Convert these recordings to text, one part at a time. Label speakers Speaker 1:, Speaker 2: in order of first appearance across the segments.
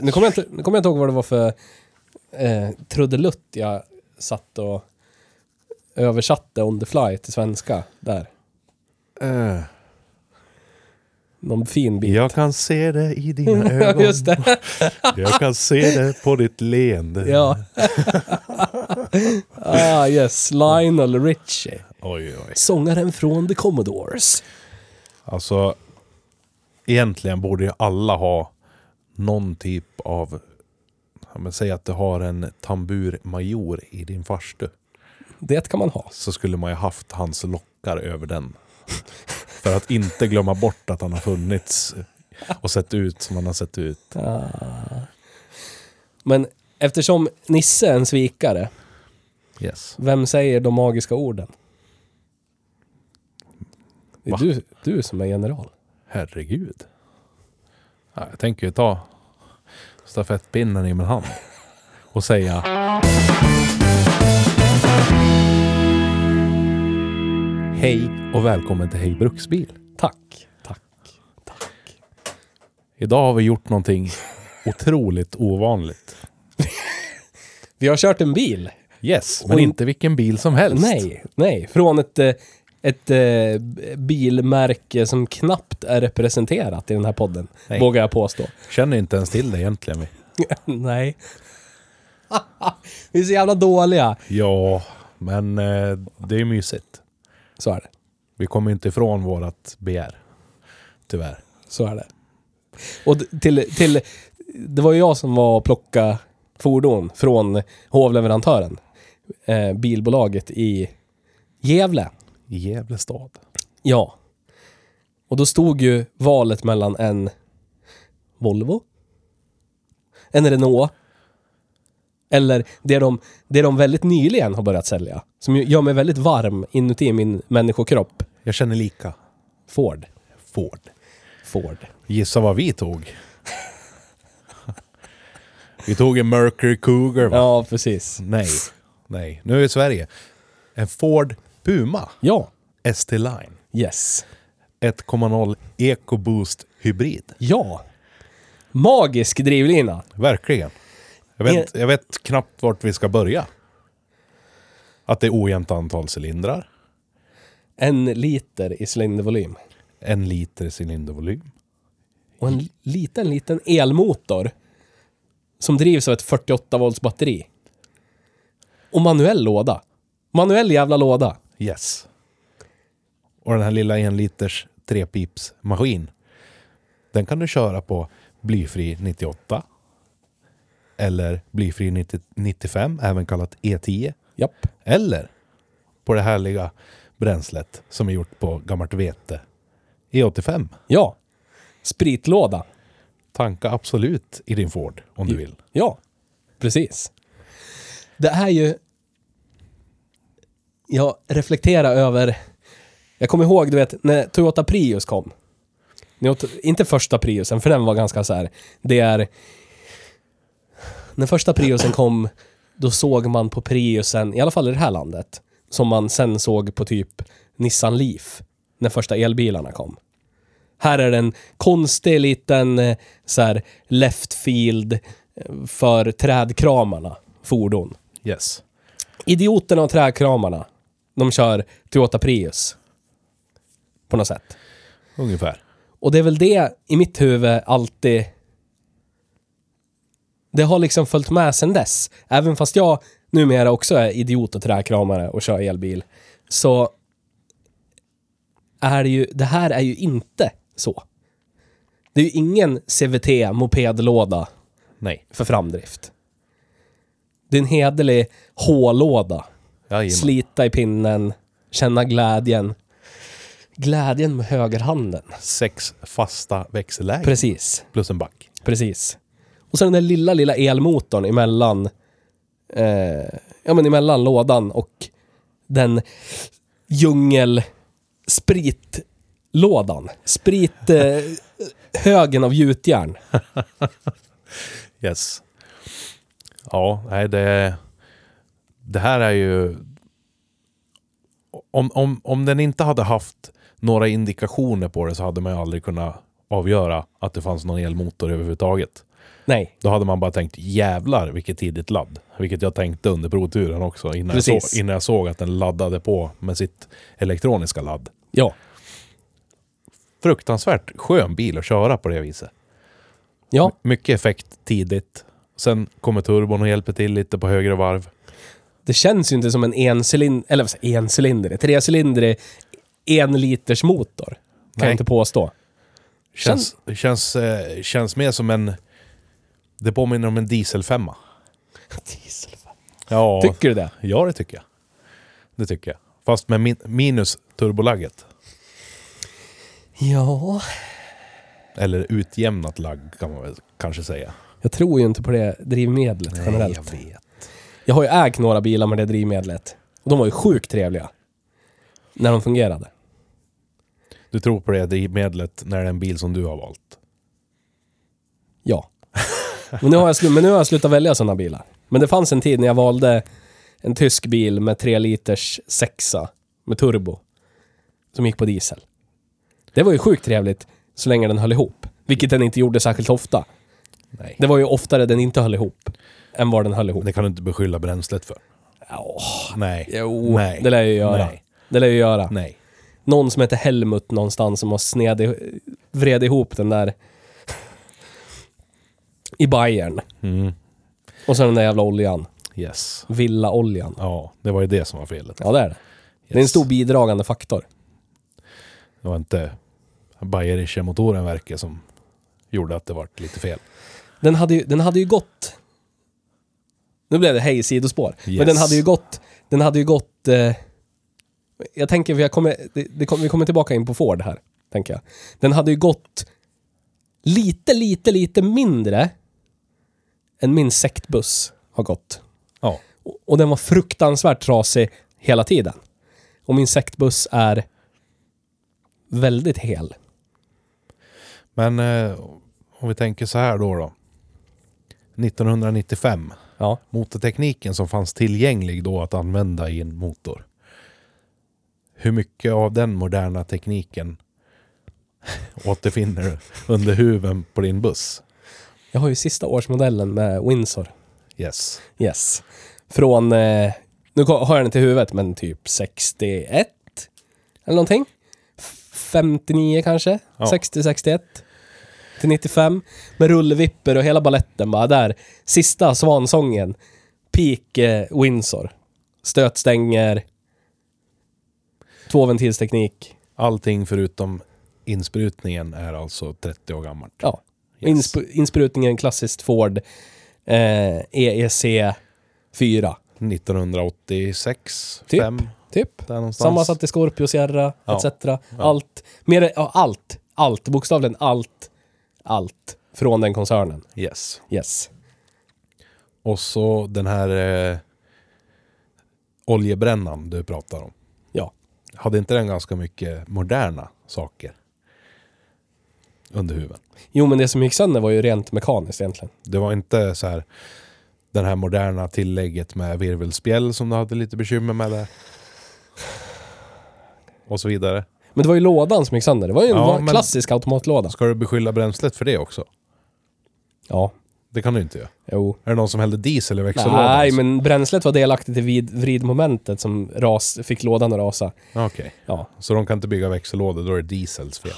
Speaker 1: Nu kommer jag inte, nu kommer jag inte ihåg vad det var för eh, trudelutt jag satt och översatte on the fly till svenska där.
Speaker 2: Eh,
Speaker 1: Någon fin bit.
Speaker 2: jag kan se det i dina
Speaker 1: Ja,
Speaker 2: ögon.
Speaker 1: just det.
Speaker 2: Jag kan se det på ditt leende.
Speaker 1: Ja. ah, yes. Lionel Richie.
Speaker 2: Oj, oj.
Speaker 1: Sångaren från The Commodores.
Speaker 2: Alltså, egentligen borde ju alla ha någon typ av... Ja, men säg att du har en tamburmajor i din farstu.
Speaker 1: Det kan man ha.
Speaker 2: Så skulle man ju haft hans lockar över den. För att inte glömma bort att han har funnits och sett ut som han har sett ut.
Speaker 1: Men eftersom Nisse är en svikare,
Speaker 2: Yes.
Speaker 1: vem säger de magiska orden? Det är
Speaker 2: Va?
Speaker 1: du, du som är general.
Speaker 2: Herregud. Ja, jag tänker ju ta stafettpinnen i min hand och säga... Hej och välkommen till Hej Bruksbil.
Speaker 1: Tack, tack, tack.
Speaker 2: Idag har vi gjort någonting otroligt ovanligt.
Speaker 1: Vi har kört en bil.
Speaker 2: Yes, men
Speaker 1: Oj.
Speaker 2: inte vilken bil som helst.
Speaker 1: Nej, nej. Från ett, eh, ett eh, bilmärke som knappt är representerat i den här podden,
Speaker 2: Nej.
Speaker 1: vågar jag påstå.
Speaker 2: Känner inte ens till det egentligen. vi.
Speaker 1: nej. Vi är så jävla dåliga.
Speaker 2: Ja, men eh, det är mysigt.
Speaker 1: Så är det.
Speaker 2: Vi kommer inte ifrån vårat begär. Tyvärr.
Speaker 1: Så är det. Och d- till, till, det var ju jag som var och plockade fordon från hovleverantören, eh, bilbolaget i Gävle.
Speaker 2: I Gävle stad.
Speaker 1: Ja. Och då stod ju valet mellan en Volvo, en Renault, eller det de, det de väldigt nyligen har börjat sälja, som ju gör mig väldigt varm inuti min människokropp,
Speaker 2: Jag känner lika.
Speaker 1: Ford.
Speaker 2: Ford.
Speaker 1: Ford.
Speaker 2: Gissa vad vi tog. vi tog en Mercury Cougar va?
Speaker 1: Ja, precis.
Speaker 2: Nej, nej. Nu är vi i Sverige. En Ford Puma
Speaker 1: Ja.
Speaker 2: ST Line.
Speaker 1: Yes.
Speaker 2: 1,0 EcoBoost hybrid.
Speaker 1: Ja. Magisk drivlina.
Speaker 2: Verkligen. Jag vet, jag vet knappt vart vi ska börja. Att det är ojämnt antal cylindrar.
Speaker 1: En liter i cylindervolym.
Speaker 2: En liter cylindervolym.
Speaker 1: Och en liten, liten elmotor som drivs av ett 48 volts batteri. Och manuell låda. Manuell jävla låda.
Speaker 2: Yes. Och den här lilla enliters trepipsmaskin. Den kan du köra på blyfri 98. Eller blyfri 90, 95, även kallat E10.
Speaker 1: Japp.
Speaker 2: Eller på det härliga bränslet som är gjort på gammalt vete. E E85.
Speaker 1: Ja. Spritlåda.
Speaker 2: Tanka absolut i din Ford om du vill.
Speaker 1: Ja. Precis. Det är ju... Jag reflekterar över... Jag kommer ihåg, du vet, när Toyota Prius kom. Ni åt- Inte första Priusen, för den var ganska så här. Det är... När första Priusen kom, då såg man på Priusen, i alla fall i det här landet, som man sen såg på typ Nissan Leaf, när första elbilarna kom. Här är den konstig liten eh, så här, left field eh, för trädkramarna, fordon.
Speaker 2: Yes.
Speaker 1: Idioterna och trädkramarna, de kör Toyota Prius. På något sätt.
Speaker 2: Ungefär.
Speaker 1: Och det är väl det i mitt huvud alltid... Det har liksom följt med sen dess. Även fast jag numera också är idiot och träkramare och kör elbil. Så är det ju, det här är ju inte så. Det är ju ingen CVT mopedlåda
Speaker 2: Nej.
Speaker 1: för framdrift. Det är en hederlig H-låda.
Speaker 2: Jajamän.
Speaker 1: Slita i pinnen, känna glädjen. Glädjen med högerhanden.
Speaker 2: Sex fasta växellägen.
Speaker 1: Precis,
Speaker 2: Plus en back.
Speaker 1: precis. Och sen den där lilla, lilla elmotorn emellan, eh, ja, men emellan lådan och den djungel spritlådan. Sprit, eh, högen av gjutjärn.
Speaker 2: Yes. Ja, nej det... Det här är ju... Om, om, om den inte hade haft några indikationer på det så hade man ju aldrig kunnat avgöra att det fanns någon elmotor överhuvudtaget.
Speaker 1: Nej,
Speaker 2: Då hade man bara tänkt jävlar vilket tidigt ladd. Vilket jag tänkte under provturen också innan, jag såg,
Speaker 1: Precis.
Speaker 2: innan jag såg att den laddade på med sitt elektroniska ladd.
Speaker 1: ja.
Speaker 2: Fruktansvärt skön bil att köra på det viset.
Speaker 1: Ja,
Speaker 2: Mycket effekt tidigt. Sen kommer turbon och hjälper till lite på högre varv.
Speaker 1: Det känns ju inte som en encylinder, eller vad säger jag, encylindrig, trecylindrig enlitersmotor. Kan
Speaker 2: Nej.
Speaker 1: jag inte påstå.
Speaker 2: Känns, känns, eh, känns mer som en... Det påminner om en dieselfemma. Ja,
Speaker 1: Tycker du det?
Speaker 2: ja, det tycker jag. Det tycker jag. Fast med min, minus turbolagget.
Speaker 1: Ja.
Speaker 2: Eller utjämnat lagg kan man väl kanske säga.
Speaker 1: Jag tror ju inte på det drivmedlet generellt. Jag,
Speaker 2: jag vet.
Speaker 1: har ju ägt några bilar med det drivmedlet. Och de var ju sjukt trevliga. När de fungerade.
Speaker 2: Du tror på det drivmedlet när det är en bil som du har valt.
Speaker 1: Ja. Men nu har jag, slu- men nu har jag slutat välja sådana bilar. Men det fanns en tid när jag valde en tysk bil med 3 liters sexa med turbo. Som gick på diesel. Det var ju sjukt trevligt så länge den höll ihop. Vilket den inte gjorde särskilt ofta.
Speaker 2: Nej.
Speaker 1: Det var ju oftare den inte höll ihop än vad den höll ihop.
Speaker 2: Det kan du inte beskylla bränslet för.
Speaker 1: Åh,
Speaker 2: Nej.
Speaker 1: jo,
Speaker 2: Nej.
Speaker 1: det lär jag ju göra.
Speaker 2: Nej.
Speaker 1: Det lär jag ju göra.
Speaker 2: Nej.
Speaker 1: Någon som heter Helmut någonstans som har sned, vred ihop den där i Bayern.
Speaker 2: Mm.
Speaker 1: Och sen den där jävla oljan.
Speaker 2: Yes.
Speaker 1: Villaoljan.
Speaker 2: Ja, det var ju det som var felet.
Speaker 1: Ja, det är det. Det är en
Speaker 2: Yes.
Speaker 1: stor bidragande faktor.
Speaker 2: Det var inte bayerische motoren verkar som gjorde att det vart lite fel.
Speaker 1: Den hade ju, den hade ju gått... Nu blev det hej sidospår. Men
Speaker 2: Yes.
Speaker 1: den hade ju gått... Den hade ju gått... Eh, jag tänker, vi kommer, det, det kom, vi kommer tillbaka in på Ford här, tänker jag. Den hade ju gått lite, lite, lite mindre än min sektbuss har gått.
Speaker 2: Ja.
Speaker 1: Och- Och den var fruktansvärt trasig hela tiden. Och min sektbuss är väldigt hel.
Speaker 2: Men eh, om vi tänker så här då då. 1995.
Speaker 1: Ja.
Speaker 2: Motortekniken som fanns tillgänglig då att använda i en motor. Hur mycket av den moderna tekniken återfinner du under huven på din buss?
Speaker 1: Jag har ju sista årsmodellen med Windsor.
Speaker 2: Yes.
Speaker 1: Yes. Från, eh, nu ko- har jag den till huvudet, men typ 61 eller någonting. F- 59 kanske?
Speaker 2: Ja.
Speaker 1: 60, 61. Till 95. Med rullvipper och hela balletten bara där. Sista svansången. Peak eh, Windsor. Stötstänger. Tvåventilsteknik.
Speaker 2: Allting förutom insprutningen är alltså 30 år gammalt.
Speaker 1: Ja.
Speaker 2: Yes.
Speaker 1: Insp- insprutningen klassiskt Ford. Eh, EEC 4.
Speaker 2: 1986,
Speaker 1: Typ.
Speaker 2: 5,
Speaker 1: Typ.
Speaker 2: där någonstans.
Speaker 1: Sammansatt i Scorpio, Sierra,
Speaker 2: Ja.
Speaker 1: etc. Allt. Mer, ja, allt. Allt. Bokstavligen allt. Allt. Från den koncernen.
Speaker 2: Yes.
Speaker 1: Yes.
Speaker 2: Och så den här eh, oljebrännan du pratar om.
Speaker 1: Ja.
Speaker 2: Hade inte den ganska mycket moderna saker under huven?
Speaker 1: Jo, men det som gick sönder var ju rent mekaniskt egentligen.
Speaker 2: Det var inte så här den här moderna tillägget med virvelspjäll som du hade lite bekymmer med där. Och så vidare.
Speaker 1: Men det var ju lådan som gick sönder. Det var ju en
Speaker 2: Ja,
Speaker 1: va-
Speaker 2: men-
Speaker 1: klassisk automatlåda.
Speaker 2: Ska du beskylla bränslet för det också?
Speaker 1: Ja.
Speaker 2: Det kan du inte göra.
Speaker 1: Jo.
Speaker 2: Är det någon som hällde diesel i växellådan?
Speaker 1: Nej, men bränslet var delaktigt i vid, vridmomentet som ras, fick lådan att rasa.
Speaker 2: Okej.
Speaker 1: Ja.
Speaker 2: Så de kan inte bygga växellådor, då är det diesels fel.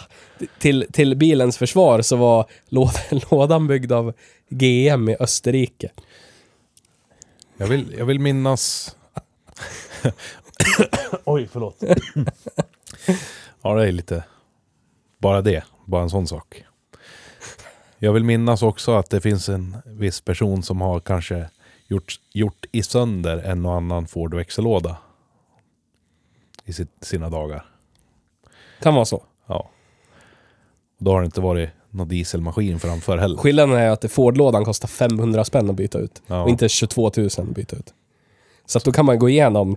Speaker 1: Till, till bilens försvar så var lådan, lådan byggd av GM i Österrike.
Speaker 2: Jag vill, jag vill minnas... Oj, förlåt. ja, det är lite... Bara det. Bara en sån sak. Jag vill minnas också att det finns en viss person som har kanske gjort, gjort i sönder en och annan Ford växellåda. I sitt, sina dagar.
Speaker 1: Kan vara så.
Speaker 2: Ja. Och då har det inte varit någon dieselmaskin framför heller.
Speaker 1: Skillnaden är att Ford-lådan kostar 500 spänn att byta ut.
Speaker 2: Ja.
Speaker 1: Och inte 22 000 att byta ut. Så att då kan man gå igenom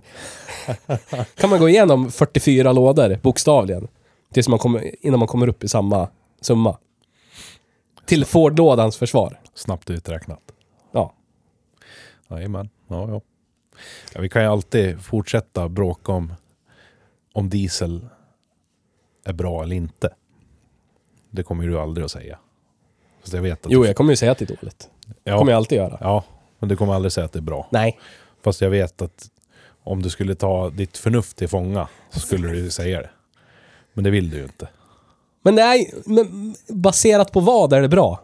Speaker 1: kan man gå igenom 44 lådor, bokstavligen. Tills man kommer, innan man kommer upp i samma summa. Till Ford-lådans försvar.
Speaker 2: Snabbt uträknat.
Speaker 1: Ja.
Speaker 2: Jajamän. Ja, ja. ja, vi kan ju alltid fortsätta bråka om, om diesel är bra eller inte. Det kommer ju du aldrig att säga. Fast jag vet att
Speaker 1: Jo, jag kommer ju säga att det är dåligt. Det
Speaker 2: ja,
Speaker 1: kommer jag alltid göra.
Speaker 2: ja, men du kommer aldrig säga att det är bra.
Speaker 1: Nej.
Speaker 2: Fast jag vet att om du skulle ta ditt förnuft till fånga så skulle du ju säga det. Men det vill du ju inte.
Speaker 1: Men nej, men baserat på vad är det bra?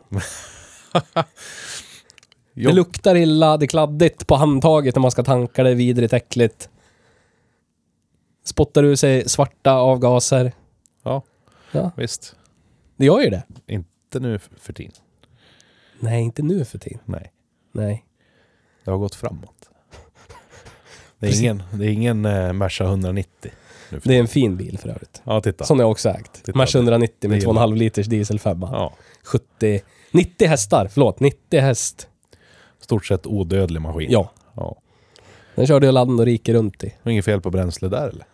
Speaker 2: Jo,
Speaker 1: Det luktar illa, det är kladdigt på handtaget när man ska tanka det, vidrigt, äckligt. Spottar ur sig svarta avgaser.
Speaker 2: ja,
Speaker 1: Ja,
Speaker 2: visst.
Speaker 1: det gör ju det.
Speaker 2: Inte nu för tiden.
Speaker 1: Nej, inte nu för tiden.
Speaker 2: Nej.
Speaker 1: Nej.
Speaker 2: Det har gått framåt. Det är
Speaker 1: Precis.
Speaker 2: ingen, det är ingen eh, Merca 190. Nu för
Speaker 1: Det är en fin bil för övrigt.
Speaker 2: Ja, titta.
Speaker 1: Som jag också ägt.
Speaker 2: Titta,
Speaker 1: Merca 190 med
Speaker 2: det gillar
Speaker 1: 2,5 liters dieselfemma.
Speaker 2: Ja,
Speaker 1: 70... 90 hästar, förlåt. 90 häst.
Speaker 2: stort sett odödlig maskin.
Speaker 1: Ja.
Speaker 2: ja.
Speaker 1: Den körde jag land och rike runt i.
Speaker 2: Och Inget fel på bränsle där eller?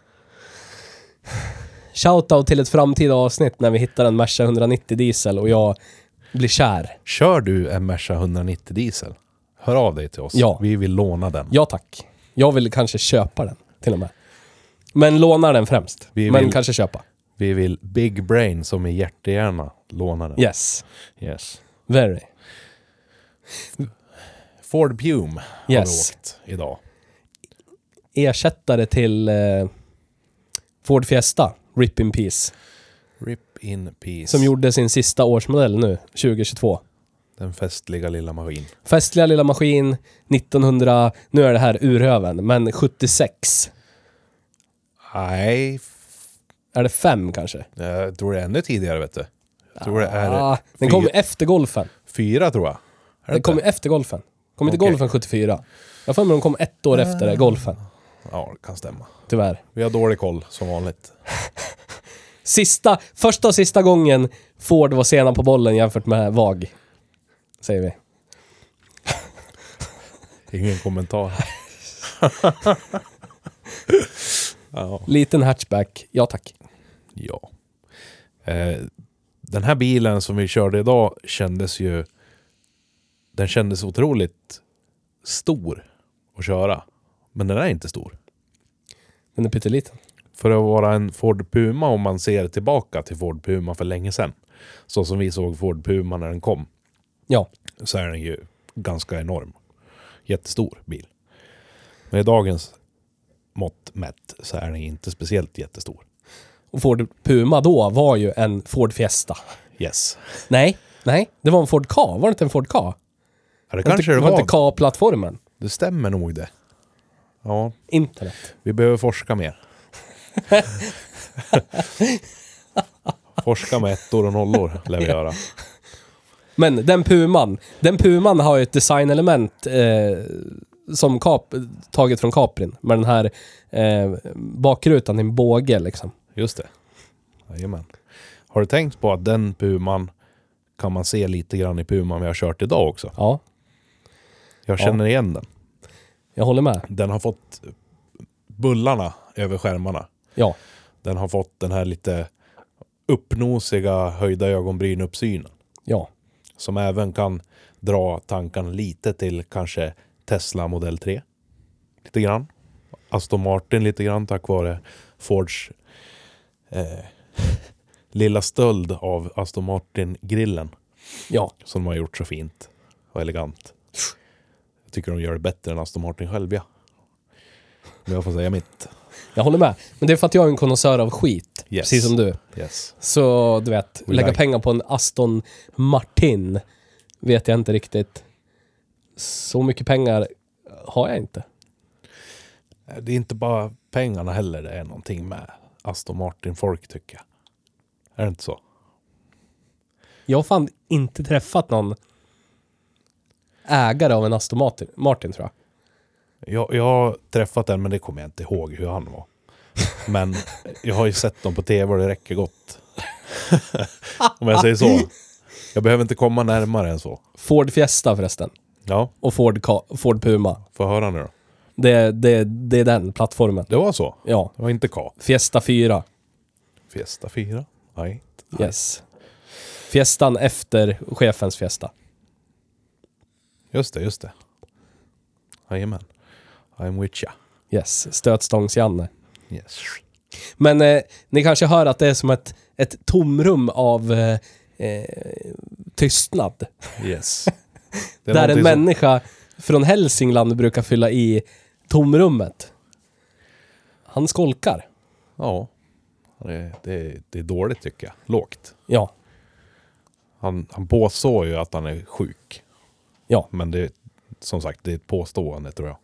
Speaker 1: Shoutout till ett framtida avsnitt när vi hittar en Merca 190 diesel och jag blir kär.
Speaker 2: Kör du en Merca 190 diesel? Hör av dig till oss.
Speaker 1: Ja.
Speaker 2: Vi vill låna den.
Speaker 1: Ja tack. Jag vill kanske köpa den till och med. Men låna den främst.
Speaker 2: Vi
Speaker 1: Men
Speaker 2: vill-
Speaker 1: kanske köpa.
Speaker 2: Vi vill Big Brain som är hjärtehjärna låna den.
Speaker 1: Yes.
Speaker 2: Yes.
Speaker 1: Very.
Speaker 2: Ford Pume
Speaker 1: Yes.
Speaker 2: har vi åkt idag.
Speaker 1: Ersättare till eh, Ford Fiesta. Rip in Peace.
Speaker 2: Rip in peace.
Speaker 1: Som gjorde sin sista årsmodell nu, 2022.
Speaker 2: Den festliga lilla maskin.
Speaker 1: Festliga lilla maskin, 1900, nu är det här urhöven, men 76.
Speaker 2: Nej, f-
Speaker 1: Är det fem kanske?
Speaker 2: jag tror det är ännu tidigare vet du. Jag tror det är
Speaker 1: Ah, den kom ju
Speaker 2: fyra-
Speaker 1: efter golfen.
Speaker 2: fyra tror jag. Är det
Speaker 1: Den kom ju
Speaker 2: inte?
Speaker 1: efter golfen. Kom inte
Speaker 2: Okej. Ah.
Speaker 1: golfen 74? Jag får för mig de kom ett år efter det, golfen.
Speaker 2: Ja, det kan stämma.
Speaker 1: Tyvärr.
Speaker 2: Vi har dålig koll som vanligt.
Speaker 1: Sista, första och sista gången Ford var sena på bollen jämfört med VAG. Säger vi.
Speaker 2: Ingen kommentar. ja.
Speaker 1: Liten hatchback, ja tack.
Speaker 2: ja. Eh, den här bilen som vi körde idag kändes ju... Den kändes otroligt stor att köra. Men den är inte stor.
Speaker 1: Den är pytteliten.
Speaker 2: För att vara en Ford Puma om man ser tillbaka till Ford Puma för länge sedan. Så som vi såg Ford Puma när den kom.
Speaker 1: Ja,
Speaker 2: så är den ju ganska enorm. Jättestor bil. Men i dagens mått mätt så är den inte speciellt jättestor.
Speaker 1: och Ford Puma då var ju en Ford Fiesta.
Speaker 2: Yes.
Speaker 1: Nej, nej, det var en Ford Ka. Var det inte en Ford Ka?
Speaker 2: Ja, det kanske
Speaker 1: inte,
Speaker 2: det var.
Speaker 1: inte Ka-plattformen.
Speaker 2: Det stämmer nog det. Ja,
Speaker 1: Internet.
Speaker 2: vi behöver forska mer. forska med ettor och nollor lär vi göra.
Speaker 1: Men den Puman, den Puman har ju ett designelement eh, som kap, taget från Caprin. Med den här eh, bakrutan i en båge liksom.
Speaker 2: Just det. Jajamän. Har du tänkt på att den Puman kan man se lite grann i Puman vi har kört idag också?
Speaker 1: Ja,
Speaker 2: Jag känner igen den.
Speaker 1: jag håller med.
Speaker 2: Den har fått bullarna över skärmarna.
Speaker 1: Ja.
Speaker 2: Den har fått den här lite uppnosiga höjda ögonbrynuppsynen.
Speaker 1: Ja,
Speaker 2: Som även kan dra tankarna lite till kanske Tesla Model 3. Lite grann. Aston Martin lite grann tack vare Fords eh, lilla stöld av Aston Martin-grillen.
Speaker 1: ja.
Speaker 2: Som de har gjort så fint och elegant. Jag tycker de gör det bättre än Aston Martin själv, ja. Om jag får säga mitt.
Speaker 1: Jag håller med. Men det är för att jag är en konnässör av skit.
Speaker 2: Yes.
Speaker 1: Precis som du.
Speaker 2: Yes.
Speaker 1: Så du vet,
Speaker 2: We
Speaker 1: lägga
Speaker 2: like-
Speaker 1: pengar på en Aston Martin vet jag inte riktigt. Så mycket pengar har jag inte.
Speaker 2: Eh, Det är inte bara pengarna heller det är någonting med Aston Martin-folk, tycker jag. Är det inte så?
Speaker 1: Jag har fan inte träffat någon ägare av en Aston Martin, Martin tror jag.
Speaker 2: Jag, jag har träffat en, men det kommer jag inte ihåg hur han var. Men jag har ju sett dem på tv och det räcker gott. Om jag säger så. Jag behöver inte komma närmare än så.
Speaker 1: Ford Fiesta förresten.
Speaker 2: Ja,
Speaker 1: Och Ford, Ka- Ford Puma.
Speaker 2: får jag höra nu då.
Speaker 1: Det, det, det är den plattformen.
Speaker 2: Det var så?
Speaker 1: Ja.
Speaker 2: Det var inte K.
Speaker 1: Fiesta 4.
Speaker 2: Fiesta 4? Nej.
Speaker 1: Yes. Fiestan efter chefens fiesta.
Speaker 2: Just det, just det. Jajamän. I'm with ya.
Speaker 1: Yes. Stötstångs-Janne.
Speaker 2: Yes.
Speaker 1: Men eh, ni kanske hör att det är som ett, ett tomrum av eh, eh, tystnad.
Speaker 2: Yes. Det är
Speaker 1: Där en
Speaker 2: någonting som-
Speaker 1: människa från Hälsingland brukar fylla i tomrummet. Han skolkar.
Speaker 2: Ja. Det, det, det är dåligt tycker jag. Lågt.
Speaker 1: Ja.
Speaker 2: Han, han påstår ju att han är sjuk.
Speaker 1: Ja.
Speaker 2: Men det som sagt, det är ett påstående tror jag.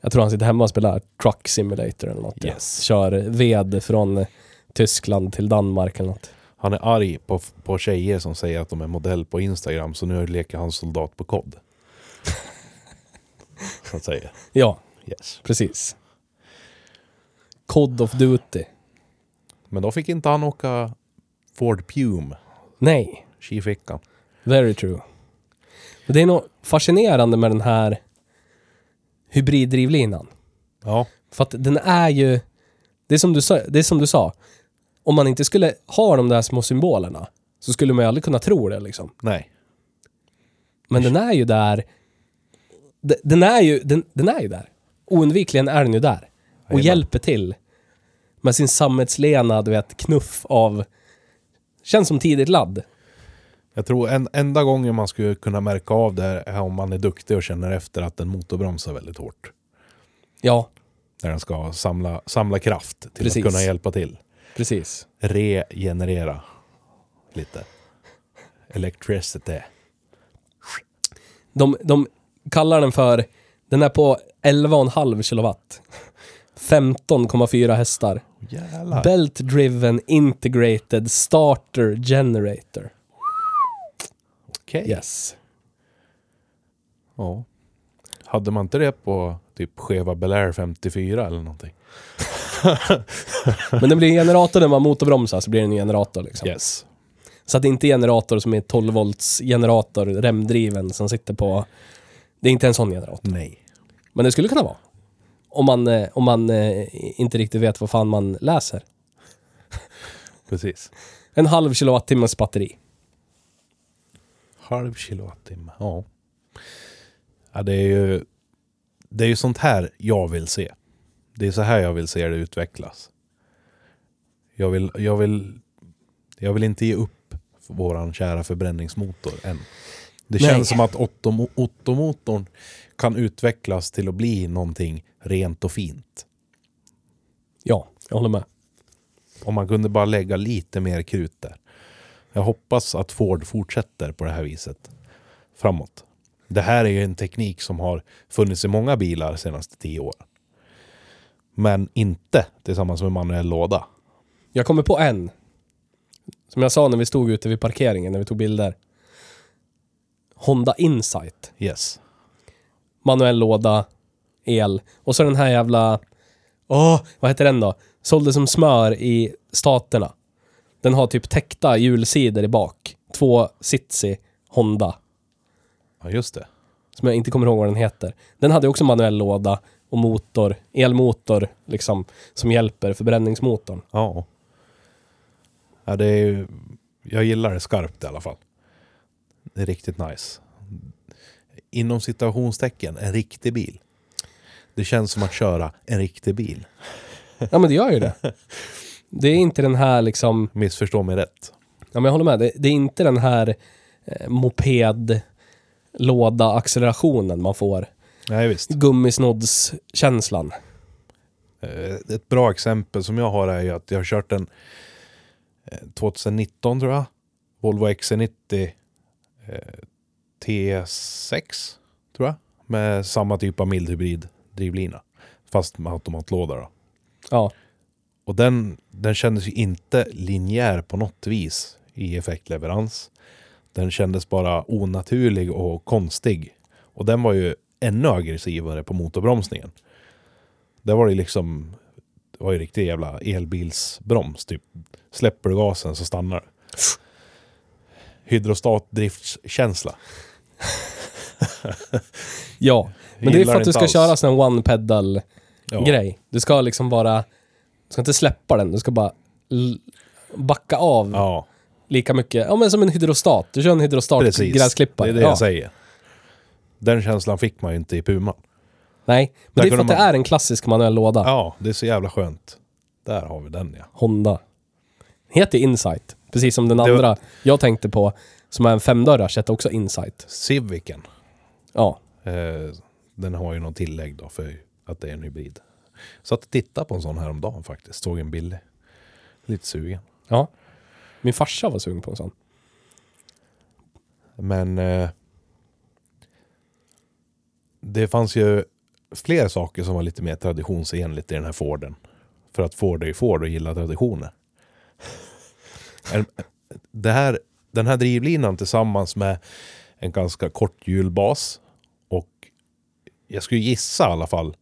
Speaker 1: Jag tror han sitter hemma och spelar Truck Simulator eller något.
Speaker 2: Yes.
Speaker 1: Kör ved från eh, Tyskland till Danmark eller något.
Speaker 2: Han är arg på, på tjejer som säger att de är modell på Instagram, så nu leker han soldat på kod. Så att säga.
Speaker 1: Ja,
Speaker 2: Yes.
Speaker 1: precis. Cod of Duty.
Speaker 2: Men då fick inte han åka Ford Pume.
Speaker 1: Nej.
Speaker 2: Tji fick han.
Speaker 1: Very true. Men det är något fascinerande med den här hybriddrivlinan.
Speaker 2: Ja.
Speaker 1: För att den är ju... Det är, som du sa, det är som du sa. Om man inte skulle ha de där små symbolerna så skulle man ju aldrig kunna tro det liksom.
Speaker 2: Nej.
Speaker 1: Men den är ju där. De- Den är ju, den, den är ju där. Oundvikligen är den ju där. Och
Speaker 2: Jajamän.
Speaker 1: hjälper till. Med sin sammetslena, du vet, knuff av... Känns som tidigt ladd.
Speaker 2: Jag tror en, enda gången man skulle kunna märka av det här är om man är duktig och känner efter att en motorbromsar väldigt hårt.
Speaker 1: Ja,
Speaker 2: När den ska samla, samla kraft till
Speaker 1: Precis.
Speaker 2: att kunna hjälpa till.
Speaker 1: precis.
Speaker 2: Regenerera lite. Electricity.
Speaker 1: De, de kallar den för... Den är på 11,5 kilowatt. 15,4 hästar.
Speaker 2: Jävlar.
Speaker 1: Belt Driven Integrated Starter Generator.
Speaker 2: Okej.
Speaker 1: Yes.
Speaker 2: Ja. Hade man inte det på typ Cheva Belair 54 eller någonting?
Speaker 1: Men den blir en generator när man motorbromsar så blir den en generator liksom.
Speaker 2: Yes.
Speaker 1: Så att det inte är generator som är 12 volts generator, remdriven, som sitter på... Det är inte en sån generator.
Speaker 2: Nej.
Speaker 1: Men det skulle kunna vara. Om man, eh, om man eh, inte riktigt vet vad fan man läser.
Speaker 2: Precis.
Speaker 1: En halv kilowattimmes batteri.
Speaker 2: Halv kilowattimme. Ja. ja det, är ju, det är ju sånt här jag vill se. Det är så här jag vill se det utvecklas. Jag vill, jag vill, jag vill inte ge upp vår kära förbränningsmotor än. Det
Speaker 1: Nej.
Speaker 2: känns som att Otto- Otto-motorn kan utvecklas till att bli någonting rent och fint.
Speaker 1: Ja, jag håller med.
Speaker 2: Om man kunde bara lägga lite mer krut där. Jag hoppas att Ford fortsätter på det här viset framåt. Det här är ju en teknik som har funnits i många bilar de senaste tio åren. Men inte tillsammans med manuell låda.
Speaker 1: Jag kommer på en. Som jag sa när vi stod ute vid parkeringen, när vi tog bilder. Honda Insight.
Speaker 2: Yes.
Speaker 1: Manuell låda, el. Och så den här jävla... Åh, vad heter den då? Sålde som smör i staterna. Den har typ täckta hjulsidor i bak. Två Sitsi Honda.
Speaker 2: Ja, just det.
Speaker 1: Som jag inte kommer ihåg vad den heter. Den hade också manuell låda och motor. Elmotor, liksom. Som hjälper förbränningsmotorn.
Speaker 2: Ja. ja det är ju, jag gillar det skarpt i alla fall. Det är riktigt nice. Inom citationstecken, en riktig bil. Det känns som att köra en riktig bil.
Speaker 1: Ja, men det gör ju det. Det är inte den här liksom...
Speaker 2: Missförstå mig rätt.
Speaker 1: Ja, men jag håller med. Det, det är inte den här eh, moped låda accelerationen man får.
Speaker 2: Nej, visst.
Speaker 1: Gummisnoddskänslan.
Speaker 2: Eh, Ett bra exempel som jag har är ju att jag har kört en eh, 2019 tror jag. Volvo XC90 eh, T6 tror jag. Med samma typ av mild hybrid drivlina. Fast med automatlåda då.
Speaker 1: Ja,
Speaker 2: Och den, den kändes ju inte linjär på något vis i effektleverans. Den kändes bara onaturlig och konstig. Och den var ju ännu aggressivare på motorbromsningen. Där var det liksom, det var ju riktig jävla elbilsbroms typ. Släpper du gasen så stannar du. Hydrostatdriftskänsla.
Speaker 1: Ja, men det är
Speaker 2: Gillar
Speaker 1: för att du
Speaker 2: inte
Speaker 1: ska
Speaker 2: alls.
Speaker 1: köra sån här one pedal
Speaker 2: Ja.
Speaker 1: grej. Du ska liksom bara... Du ska inte släppa den, du ska bara l- backa av
Speaker 2: Ja,
Speaker 1: lika mycket. Ja, men som en hydrostat. Du kör en
Speaker 2: precis.
Speaker 1: hydrostat-gräsklippare.
Speaker 2: Det är det
Speaker 1: ja.
Speaker 2: jag säger. Den känslan fick man ju inte i Puman.
Speaker 1: Nej, men
Speaker 2: Där
Speaker 1: det är för
Speaker 2: kunde
Speaker 1: att det
Speaker 2: man-
Speaker 1: är en klassisk manuell låda.
Speaker 2: Ja, det är så jävla skönt. Där har vi den ja.
Speaker 1: Honda. Heter Insight, precis som den
Speaker 2: Det var-
Speaker 1: andra jag tänkte på, som är en femdörrars, heter också Insight.
Speaker 2: Civicen.
Speaker 1: Ja.
Speaker 2: Eh, den har ju någon tillägg då för att det är en hybrid. Så att titta på en sån här om dagen faktiskt. Såg en billig. Lite sugen.
Speaker 1: ja. Min farsa var sugen på en sån.
Speaker 2: Men eh, det fanns ju fler saker som var lite mer traditionsenligt i den här Forden. För att Ford är ju Ford och gillar traditioner. En- det här, den här drivlinan tillsammans med en ganska kort hjulbas och jag skulle gissa i alla fall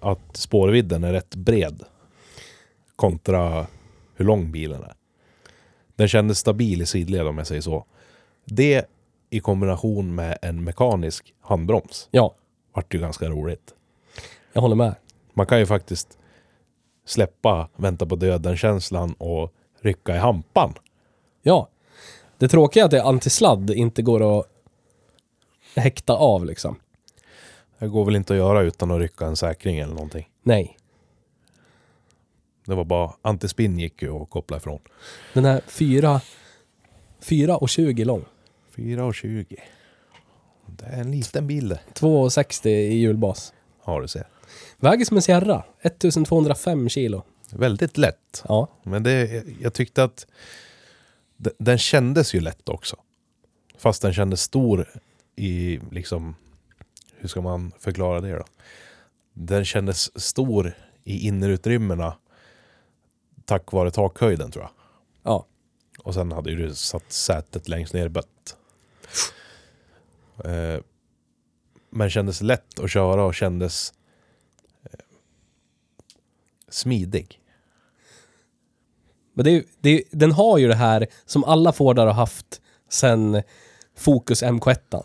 Speaker 2: att spårvidden är rätt bred kontra hur lång bilen är. Den kändes stabil i sidled om jag säger så. Det i kombination med en mekanisk handbroms
Speaker 1: Ja,
Speaker 2: vart ju ganska roligt.
Speaker 1: jag håller med.
Speaker 2: Man kan ju faktiskt släppa vänta på döden-känslan och rycka i hampan.
Speaker 1: Ja. Det tråkiga är att det är antisladd inte går att häkta av liksom.
Speaker 2: Det går väl inte att göra utan att rycka en säkring eller någonting.
Speaker 1: Nej.
Speaker 2: Det var bara antispinn gick ju att koppla ifrån.
Speaker 1: Den är 4, 4 och 20 lång.
Speaker 2: 4,20. Det är en liten bil det.
Speaker 1: 2,60 i hjulbas.
Speaker 2: Ja, du ser.
Speaker 1: Väger som en Sierra. 1205 kilo.
Speaker 2: Väldigt lätt.
Speaker 1: Ja.
Speaker 2: Men det, jag tyckte att de- den kändes ju lätt också. Fast den kändes stor i liksom, hur ska man förklara det då? Den kändes stor i innerutrymmena tack vare takhöjden tror jag.
Speaker 1: Ja.
Speaker 2: Och sen hade ju du satt sätet längst ner i bött. Eh, Men kändes lätt att köra och kändes eh, smidig.
Speaker 1: Men det, är- det, är- den har ju det här som alla Fordar har haft sen Focus MK1.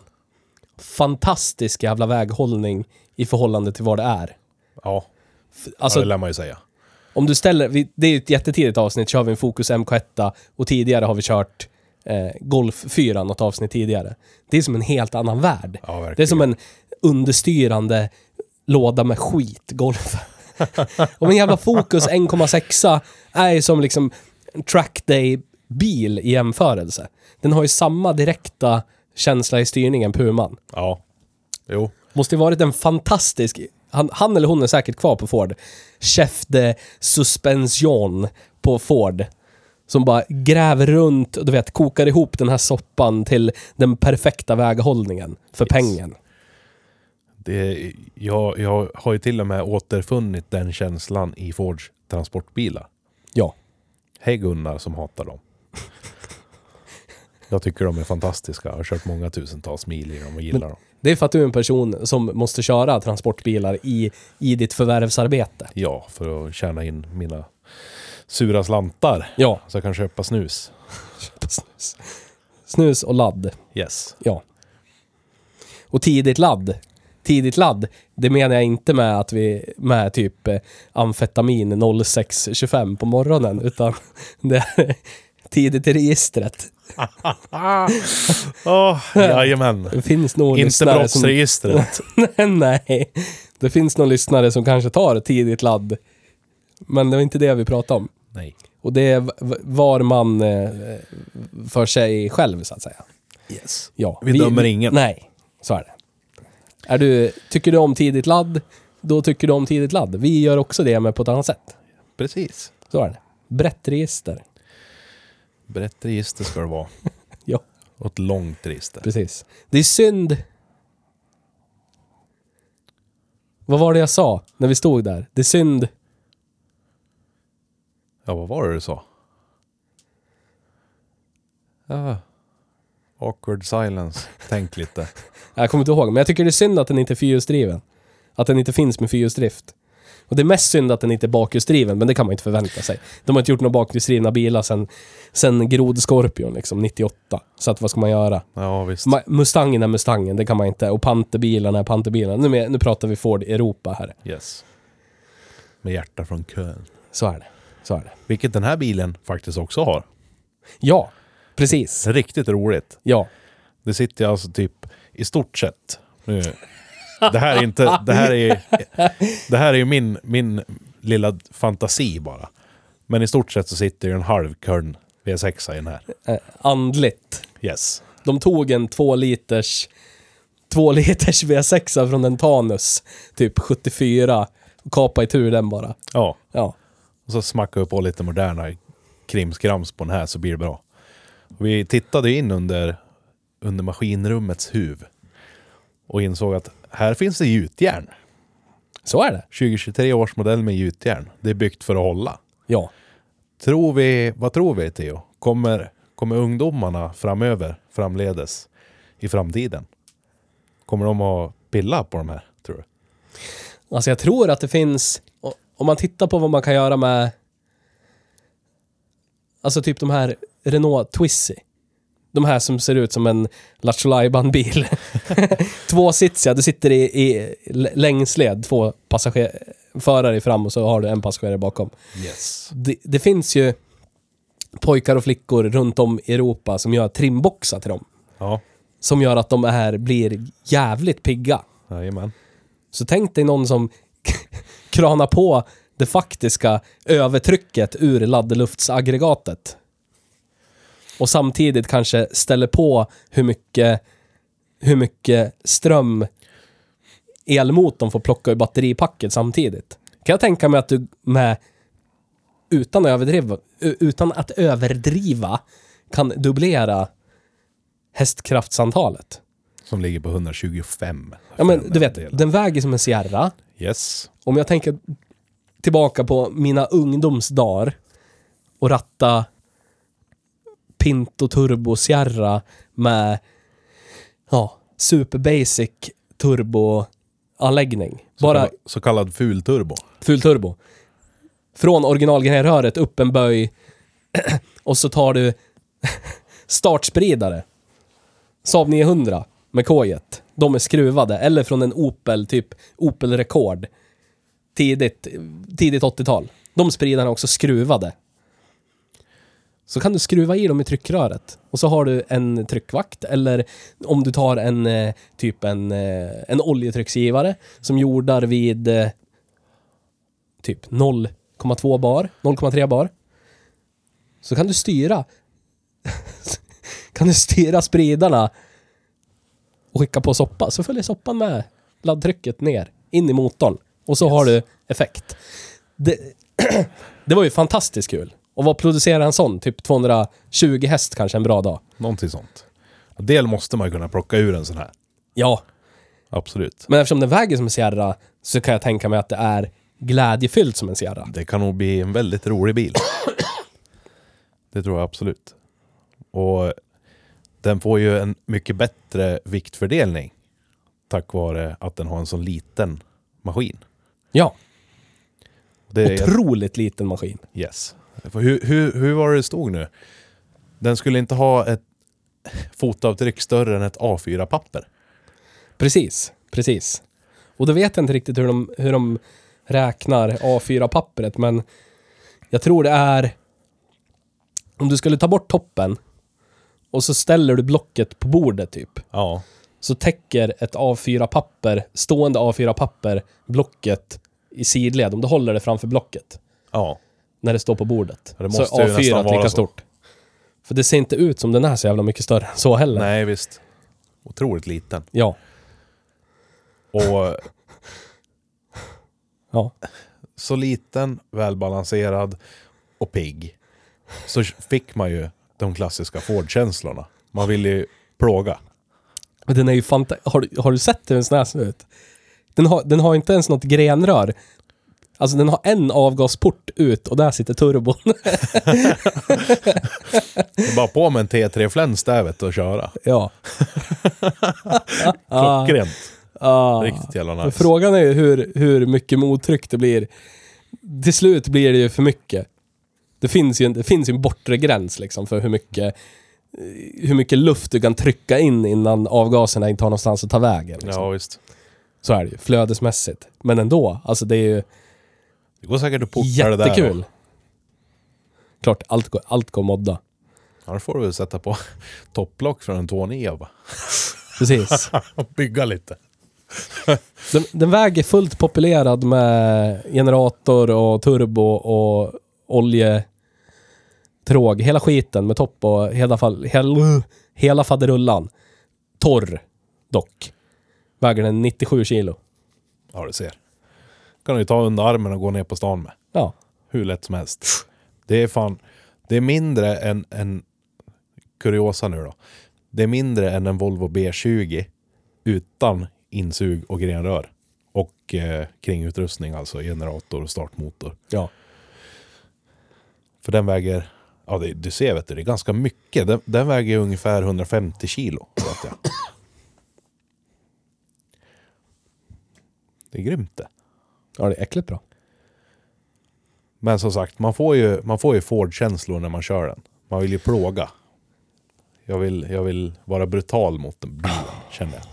Speaker 1: Fantastisk jävla väghållning i förhållande till vad det är.
Speaker 2: Ja,
Speaker 1: F-
Speaker 2: alltså,
Speaker 1: Alltså,
Speaker 2: det lär man ju säga.
Speaker 1: om du ställer, vi- det är ju ett jättetidigt avsnitt, kör vi en Focus MK1 och tidigare har vi kört eh, Golf 4 något avsnitt tidigare. Det är som en helt annan värld.
Speaker 2: Ja, verkligen.
Speaker 1: Det är som en understyrande låda med skit, golf. Och en jävla Focus 1,6 är ju som liksom en trackday-bil i jämförelse. Den har ju samma direkta känsla i styrningen, Puman.
Speaker 2: Ja. Jo.
Speaker 1: Måste ju varit en fantastisk, han, han eller hon är säkert kvar på Ford, chef de suspension på Ford. Som bara gräver runt och du vet, kokar ihop den här soppan till den perfekta väghållningen för pengen.
Speaker 2: Det, jag, jag har ju till och med återfunnit den känslan i Fords transportbilar.
Speaker 1: Ja.
Speaker 2: Hej Gunnar som hatar dem. Jag tycker de är fantastiska. Jag har kört många tusentals mil i dem och gillar dem.
Speaker 1: Det är för att du är en person som måste köra transportbilar i, i ditt förvärvsarbete.
Speaker 2: Ja, för att tjäna in mina sura slantar.
Speaker 1: Ja.
Speaker 2: Så jag kan köpa snus.
Speaker 1: Snus. Snus och ladd.
Speaker 2: Yes.
Speaker 1: Ja. Och tidigt ladd. Tidigt ladd, det menar jag inte med att vi med typ eh, amfetamin 06.25 på morgonen, utan det är tidigt i registret.
Speaker 2: Oh, jajamän.
Speaker 1: Det finns nog
Speaker 2: Inte
Speaker 1: lyssnare som...
Speaker 2: brottsregistret.
Speaker 1: Nej, det finns någon lyssnare som kanske tar tidigt ladd. Men det var inte det vi pratade om.
Speaker 2: Nej.
Speaker 1: Och det är v- v- var man eh, för sig själv, så att säga.
Speaker 2: Yes.
Speaker 1: Ja,
Speaker 2: Vi dömer ingen.
Speaker 1: Nej, så är det. Är du, tycker du om tidigt ladd, då tycker du om tidigt ladd. Vi gör också det, men på ett annat sätt.
Speaker 2: Precis.
Speaker 1: Så är det. Brett register.
Speaker 2: Brett register ska det vara.
Speaker 1: Ja,
Speaker 2: Och ett långt register.
Speaker 1: precis. Det är synd... Vad var det jag sa när vi stod där? Det är synd...
Speaker 2: Ja, vad var det du sa? Ja. Awkward silence. Tänk lite.
Speaker 1: Jag kommer inte ihåg, men jag tycker det är synd att den inte är fyrhjulsdriven. Att den inte finns med fyrhjulsdrift. Och det är mest synd att den inte är bakhjulsdriven, men det kan man inte förvänta sig. De har inte gjort några bakhjulsdrivna bilar sen, sen Grod Scorpion, liksom, 98. Så att vad ska man göra?
Speaker 2: Ja, visst.
Speaker 1: Ma- Mustangen är Mustangen, det kan man inte. Och Panterbilarna är Panterbilarna. Nu, men- nu pratar vi Ford Europa här.
Speaker 2: Yes. Med hjärta från kön.
Speaker 1: Så är det. Så är det.
Speaker 2: Vilket den här bilen faktiskt också har.
Speaker 1: Ja, precis.
Speaker 2: Riktigt roligt.
Speaker 1: Ja.
Speaker 2: Det sitter jag alltså typ i stort sett. Nu. Det här är inte... Det här är, det här är ju min, min lilla fantasi bara. Men i stort sett så sitter ju en halv körn V6 i den här.
Speaker 1: Eh, andligt.
Speaker 2: Yes.
Speaker 1: De tog en två liters, två liters V6 från en Tanus, typ 74, och kapade i tur den bara.
Speaker 2: Ja.
Speaker 1: Ja.
Speaker 2: Och så smackade vi på lite moderna krimskrams på den här så blir det bra. Och vi tittade in under, under maskinrummets huv och insåg att här finns det gjutjärn.
Speaker 1: Så är det.
Speaker 2: 2023 års modell med gjutjärn. Det är byggt för att hålla.
Speaker 1: Ja.
Speaker 2: Tror vi, vad tror vi Theo? Kommer, kommer ungdomarna framöver, framledes, i framtiden? Kommer de att pilla på de här, tror du?
Speaker 1: Alltså jag tror att det finns, o- om man tittar på vad man kan göra med, alltså typ de här Renault Twizy. De här som ser ut som en Lattjo bil Tvåsitsiga, du sitter i, i l- längsled, två passager, förare fram och så har du en passagerare bakom.
Speaker 2: Yes.
Speaker 1: det, det finns ju pojkar och flickor runt om i Europa som gör trimboxar till dem.
Speaker 2: Ja,
Speaker 1: Som gör att de här blir jävligt pigga.
Speaker 2: jajamän.
Speaker 1: Så tänk dig någon som kranar på det faktiska övertrycket ur laddeluftsaggregatet. Och samtidigt kanske ställer på hur mycket, hur mycket ström elmotorn får plocka ur batteripacket samtidigt. Kan jag tänka mig att du med utan, att överdriva, u- utan att överdriva kan dubblera hästkraftsantalet.
Speaker 2: Som ligger på 125.
Speaker 1: Ja men
Speaker 2: För
Speaker 1: du
Speaker 2: en
Speaker 1: vet,
Speaker 2: del.
Speaker 1: den väger som en Sierra.
Speaker 2: Yes.
Speaker 1: Om jag tänker tillbaka på mina ungdomsdagar och ratta Pinto Turbo Sierra med ja, super basic turboanläggning. Bara
Speaker 2: Så, så kallad fulturbo.
Speaker 1: full turbo. Från originalgrenröret upp en böj och så tar du startspridare. Saab 900 med kojet. De är skruvade. Eller från en Opel, typ Opel Rekord. Tidigt, tidigt 80-tal. De spridarna är också skruvade. Så kan du skruva i dem i tryckröret. Och så har du en tryckvakt eller om du tar en eh, typ en, eh, en oljetrycksgivare som jordar vid eh, typ 0,2 bar, 0,3 bar. Så kan du styra kan du styra spridarna och skicka på soppa, så följer soppan med laddtrycket ner, in i motorn. Och så har du effekt. Det, det var ju fantastiskt kul. Och vad producerar en sån? Typ 220 häst kanske en bra dag.
Speaker 2: Någonting sånt. En del måste man ju kunna plocka ur en sån här.
Speaker 1: Ja,
Speaker 2: Absolut.
Speaker 1: men eftersom den väger som en Sierra så kan jag tänka mig att det är glädjefyllt som en Sierra.
Speaker 2: Det kan nog bli en väldigt rolig bil. Det tror jag absolut. Och den får ju en mycket bättre viktfördelning tack vare att den har en sån liten maskin.
Speaker 1: Ja,
Speaker 2: Det är,
Speaker 1: otroligt liten maskin.
Speaker 2: yes. För Hur, hur, hur var det det stod nu? Den skulle inte ha ett fotavtryck större än ett A4-papper.
Speaker 1: Precis, precis. Och då vet jag inte riktigt hur de, hur de räknar A4-pappret, men jag tror det är... Om du skulle ta bort toppen och så ställer du blocket på bordet typ,
Speaker 2: Ja.
Speaker 1: så täcker ett A4-papper, stående A4-papper, blocket i sidled, om du håller det framför blocket,
Speaker 2: Ja.
Speaker 1: när det står på bordet.
Speaker 2: Ja, det
Speaker 1: så är
Speaker 2: måste ju
Speaker 1: A4
Speaker 2: nästan vara
Speaker 1: lika
Speaker 2: så.
Speaker 1: stort. För det ser inte ut som den är så jävla mycket större än så heller.
Speaker 2: Nej, visst. Otroligt liten.
Speaker 1: Ja.
Speaker 2: Och
Speaker 1: Ja.
Speaker 2: så liten, välbalanserad och pigg så fick man ju de klassiska Ford-känslorna. Man ville ju plåga.
Speaker 1: Men den är ju fanta- har, du- har du sett hur en sån här ser ut? Den har, den har inte ens något grenrör Alltså den har en avgasport ut och där sitter turbon.
Speaker 2: Det är bara på med en T3-fläns där vet du, och köra.
Speaker 1: ja.
Speaker 2: Klockrent.
Speaker 1: Ah.
Speaker 2: Riktigt jävla
Speaker 1: Men
Speaker 2: nice.
Speaker 1: Frågan är ju hur, hur mycket mottryck det blir. Till slut blir det ju för mycket. Det finns ju en, det finns ju en bortre gräns liksom för hur mycket, hur mycket luft du kan trycka in innan avgaserna inte har någonstans att ta vägen. Liksom.
Speaker 2: Ja, visst.
Speaker 1: Så är det ju, flödesmässigt. Men ändå, alltså det är ju
Speaker 2: Det går säkert att porta det där.
Speaker 1: jättekul. Klart, allt går, allt går att modda.
Speaker 2: Ja, då får du väl sätta på topplock från en E, 2.9 och bara
Speaker 1: Precis.
Speaker 2: bygga lite.
Speaker 1: Den, den väger fullt populerad med generator och turbo och oljetråg. Hela skiten med topp och hela, fall, hel, hela faderullan. Torr dock. Väger den 97 kilo.
Speaker 2: Ja, du ser. kan du ju ta under armen och gå ner på stan med.
Speaker 1: Ja.
Speaker 2: Hur lätt som helst. Det är fan... Det är mindre än en... Kuriosa nu då. Det är mindre än en Volvo B20 utan insug och grenrör. Och eh, kringutrustning, alltså generator och startmotor.
Speaker 1: ja.
Speaker 2: För den väger... Ja, det, du ser vet du, det är ganska mycket. Den, den väger ungefär 150 kilo. Vet jag. Det är grymt det.
Speaker 1: Ja, det är äckligt bra.
Speaker 2: Men som sagt, man får ju, man får ju Ford-känslor när man kör den. Man vill ju plåga. Jag vill, jag vill vara brutal mot den bilen, känner jag.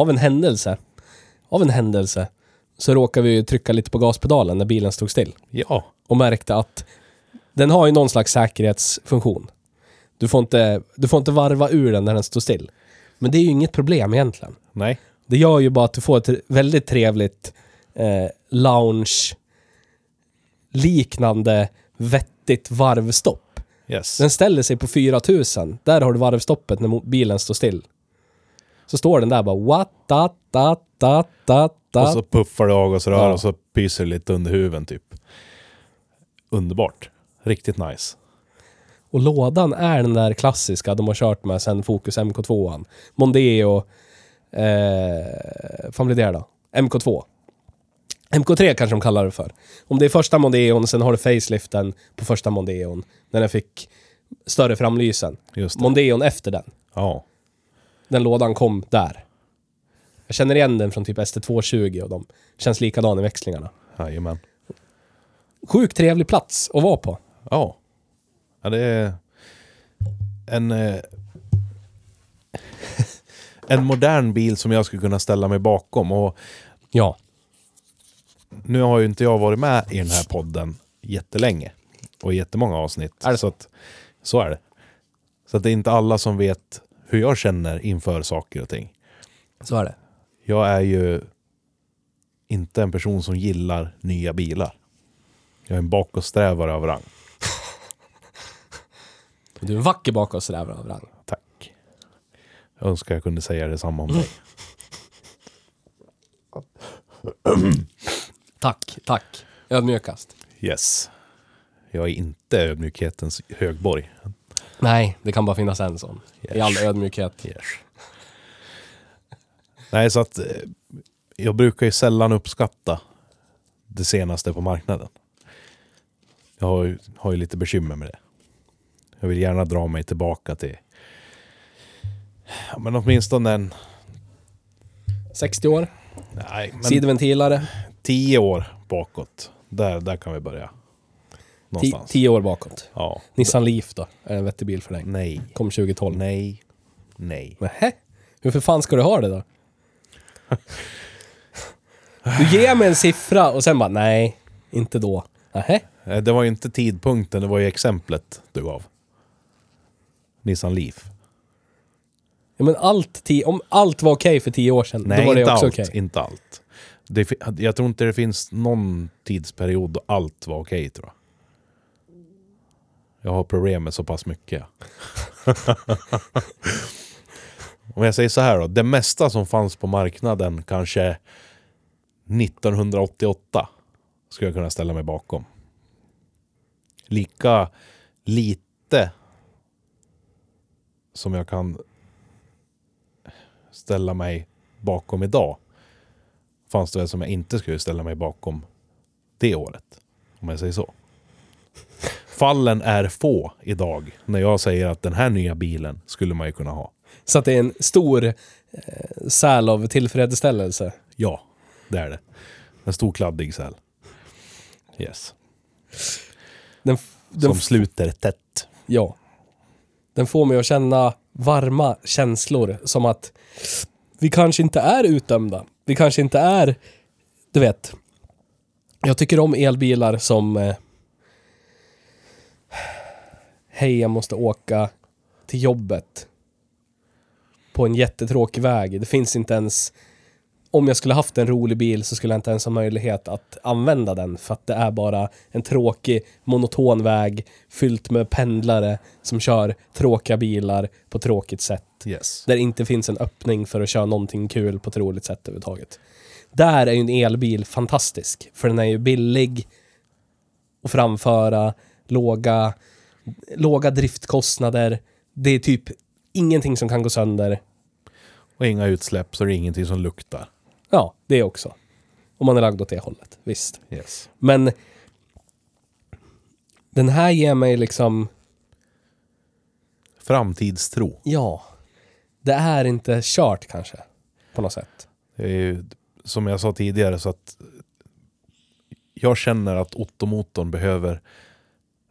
Speaker 1: Av en händelse. Av en händelse. Så råkade vi ju trycka lite på gaspedalen när bilen stod still.
Speaker 2: Ja.
Speaker 1: och märkte att den har ju någon slags säkerhetsfunktion. Du får inte, du får inte varva ur den när den står still. Men det är ju inget problem egentligen.
Speaker 2: Nej.
Speaker 1: Det gör ju bara att du får ett väldigt trevligt eh, lounge-liknande vettigt varvstopp.
Speaker 2: Yes.
Speaker 1: Den ställer sig på 4000. Där har du varvstoppet när mo- bilen står still. Så står den där bara what da da da da da.
Speaker 2: Och så puffar det avgasrör
Speaker 1: Ja.
Speaker 2: och så pyser det lite under huven typ. Underbart. Riktigt nice.
Speaker 1: Och lådan är den där klassiska de har kört med sen Focus MK2. Mondeo... Eh, fan blir det då? MK2. MK3 kanske de kallar det för. Om det är första Mondeon, sen har du faceliften på första Mondeon. När den fick större framlysen.
Speaker 2: Just det.
Speaker 1: Mondeon efter den.
Speaker 2: Ja.
Speaker 1: Den lådan kom där. Jag känner igen den från typ ST220 och de känns likadan i växlingarna.
Speaker 2: Jajamän.
Speaker 1: Sjukt trevlig plats att vara på.
Speaker 2: Ja. ja det är en, eh, en modern bil som jag skulle kunna ställa mig bakom. Och
Speaker 1: Ja.
Speaker 2: nu har ju inte jag varit med i den här podden jättelänge och i jättemånga avsnitt.
Speaker 1: Är det
Speaker 2: så? Att, så är det. Så att det är inte alla som vet hur jag känner inför saker och ting.
Speaker 1: Så är det.
Speaker 2: Jag är ju inte en person som gillar nya bilar. Jag är en bakåtsträvare av rang.
Speaker 1: Du är vacker bakåt sådär Vrang.
Speaker 2: Tack. Jag önskar jag kunde säga detsamma
Speaker 1: Mm.
Speaker 2: om dig.
Speaker 1: Tack, tack. Ödmjukast.
Speaker 2: Yes. Jag är inte ödmjukhetens högborg.
Speaker 1: Nej, det kan bara finnas en sån. I
Speaker 2: Yes.
Speaker 1: all ödmjukhet.
Speaker 2: Yes. Nej, så att eh, jag brukar ju sällan uppskatta det senaste på marknaden. Jag har ju, har ju lite bekymmer med det. Jag vill gärna dra mig tillbaka till ja, men åtminstone en,
Speaker 1: 60 år,
Speaker 2: nej, men
Speaker 1: sidventilare,
Speaker 2: tio år bakåt. Där, där kan vi börja.
Speaker 1: ti-
Speaker 2: Någonstans.
Speaker 1: 10 år bakåt.
Speaker 2: Ja.
Speaker 1: Nissan Leaf då, är en vettig bil för dig.
Speaker 2: Nej.
Speaker 1: Kom 2012.
Speaker 2: Nej. Nej.
Speaker 1: Nähä? Hur för fan ska du ha det då? Du ger mig en siffra och sen bara, nej, inte då. Nähä?
Speaker 2: Eh, Det var ju inte tidpunkten, det var ju exemplet du gav. Nissan Leaf.
Speaker 1: Ja, men allt ti- om allt var okej för 10 år sedan,
Speaker 2: Nej,
Speaker 1: då var det
Speaker 2: inte,
Speaker 1: också
Speaker 2: allt,
Speaker 1: okej.
Speaker 2: inte allt. Det, fi- jag tror inte det finns någon tidsperiod då allt var okej, tror jag. Jag har problem med så pass mycket. Om jag säger så här då. Det mesta som fanns på marknaden kanske 1988 skulle jag kunna ställa mig bakom. Lika lite som jag kan ställa mig bakom idag fanns det väl som jag inte skulle ställa mig bakom det året. Om jag säger så. Fallen är få idag när jag säger att den här nya bilen skulle man ju kunna ha.
Speaker 1: Så att det är en stor eh, säl av tillfredsställelse.
Speaker 2: Ja, det är det. En stor kladdig säl. Yes.
Speaker 1: Den, f- den,
Speaker 2: Som
Speaker 1: f-
Speaker 2: sluter tätt.
Speaker 1: ja. den får mig att känna varma känslor som att vi kanske inte är utdömda. Vi kanske inte är, du vet. Jag tycker om elbilar som eh, Hej, jag måste åka till jobbet på en jättetråkig väg. Det finns inte ens om jag skulle haft en rolig bil så skulle jag inte ens ha möjlighet att använda den för att det är bara en tråkig monoton väg fyllt med pendlare som kör tråkiga bilar på tråkigt sätt.
Speaker 2: Yes.
Speaker 1: Där det inte finns en öppning för att köra någonting kul på ett roligt sätt överhuvudtaget. Där är ju en elbil fantastisk, för den är ju billig att framföra, låga, låga driftkostnader. Det är typ ingenting som kan gå sönder.
Speaker 2: Och inga utsläpp så det är ingenting som luktar.
Speaker 1: Ja, det också. Om man är lagd åt det hållet, visst.
Speaker 2: Yes.
Speaker 1: Men den här ger mig liksom,
Speaker 2: Framtidstro.
Speaker 1: ja, det är inte kört kanske, på något sätt.
Speaker 2: Det är ju, som jag sa tidigare så att jag känner att Ottomotorn behöver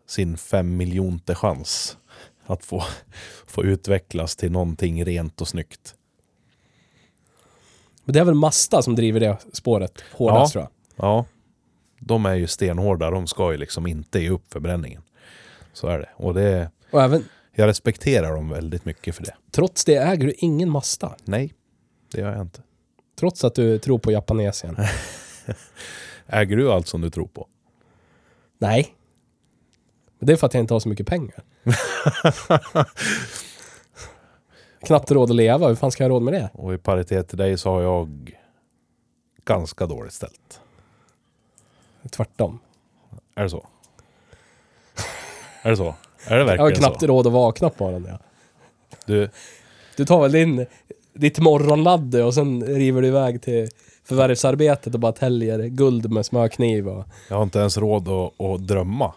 Speaker 2: sin fem miljonte chans att få, få utvecklas till någonting rent och snyggt.
Speaker 1: Men det är väl Masta som driver det spåret hårdast tror jag.
Speaker 2: Ja, de är ju stenhårda. De ska ju liksom inte ge upp förbränningen. Så är det. Och det,
Speaker 1: Och även
Speaker 2: jag respekterar dem väldigt mycket för det.
Speaker 1: trots det äger du ingen Masta.
Speaker 2: Nej, det gör jag inte.
Speaker 1: Trots att du tror på Japanesien.
Speaker 2: Äger du allt som du tror på?
Speaker 1: Nej. Men det är för att jag inte har så mycket pengar. Knappt råd att leva, hur fan ska jag ha råd med det?
Speaker 2: Och i paritet till dig så har jag ganska dåligt ställt.
Speaker 1: Tvärtom.
Speaker 2: Är det så? är det så? Är
Speaker 1: Jag
Speaker 2: det
Speaker 1: har
Speaker 2: verkligen
Speaker 1: knappt
Speaker 2: så?
Speaker 1: råd att vakna på den. Ja.
Speaker 2: Du,
Speaker 1: Du tar väl din, ditt morgonladde och sen river du iväg till förvärvsarbetet och bara täljer guld med smörkniv och...
Speaker 2: jag har inte ens råd att, att drömma.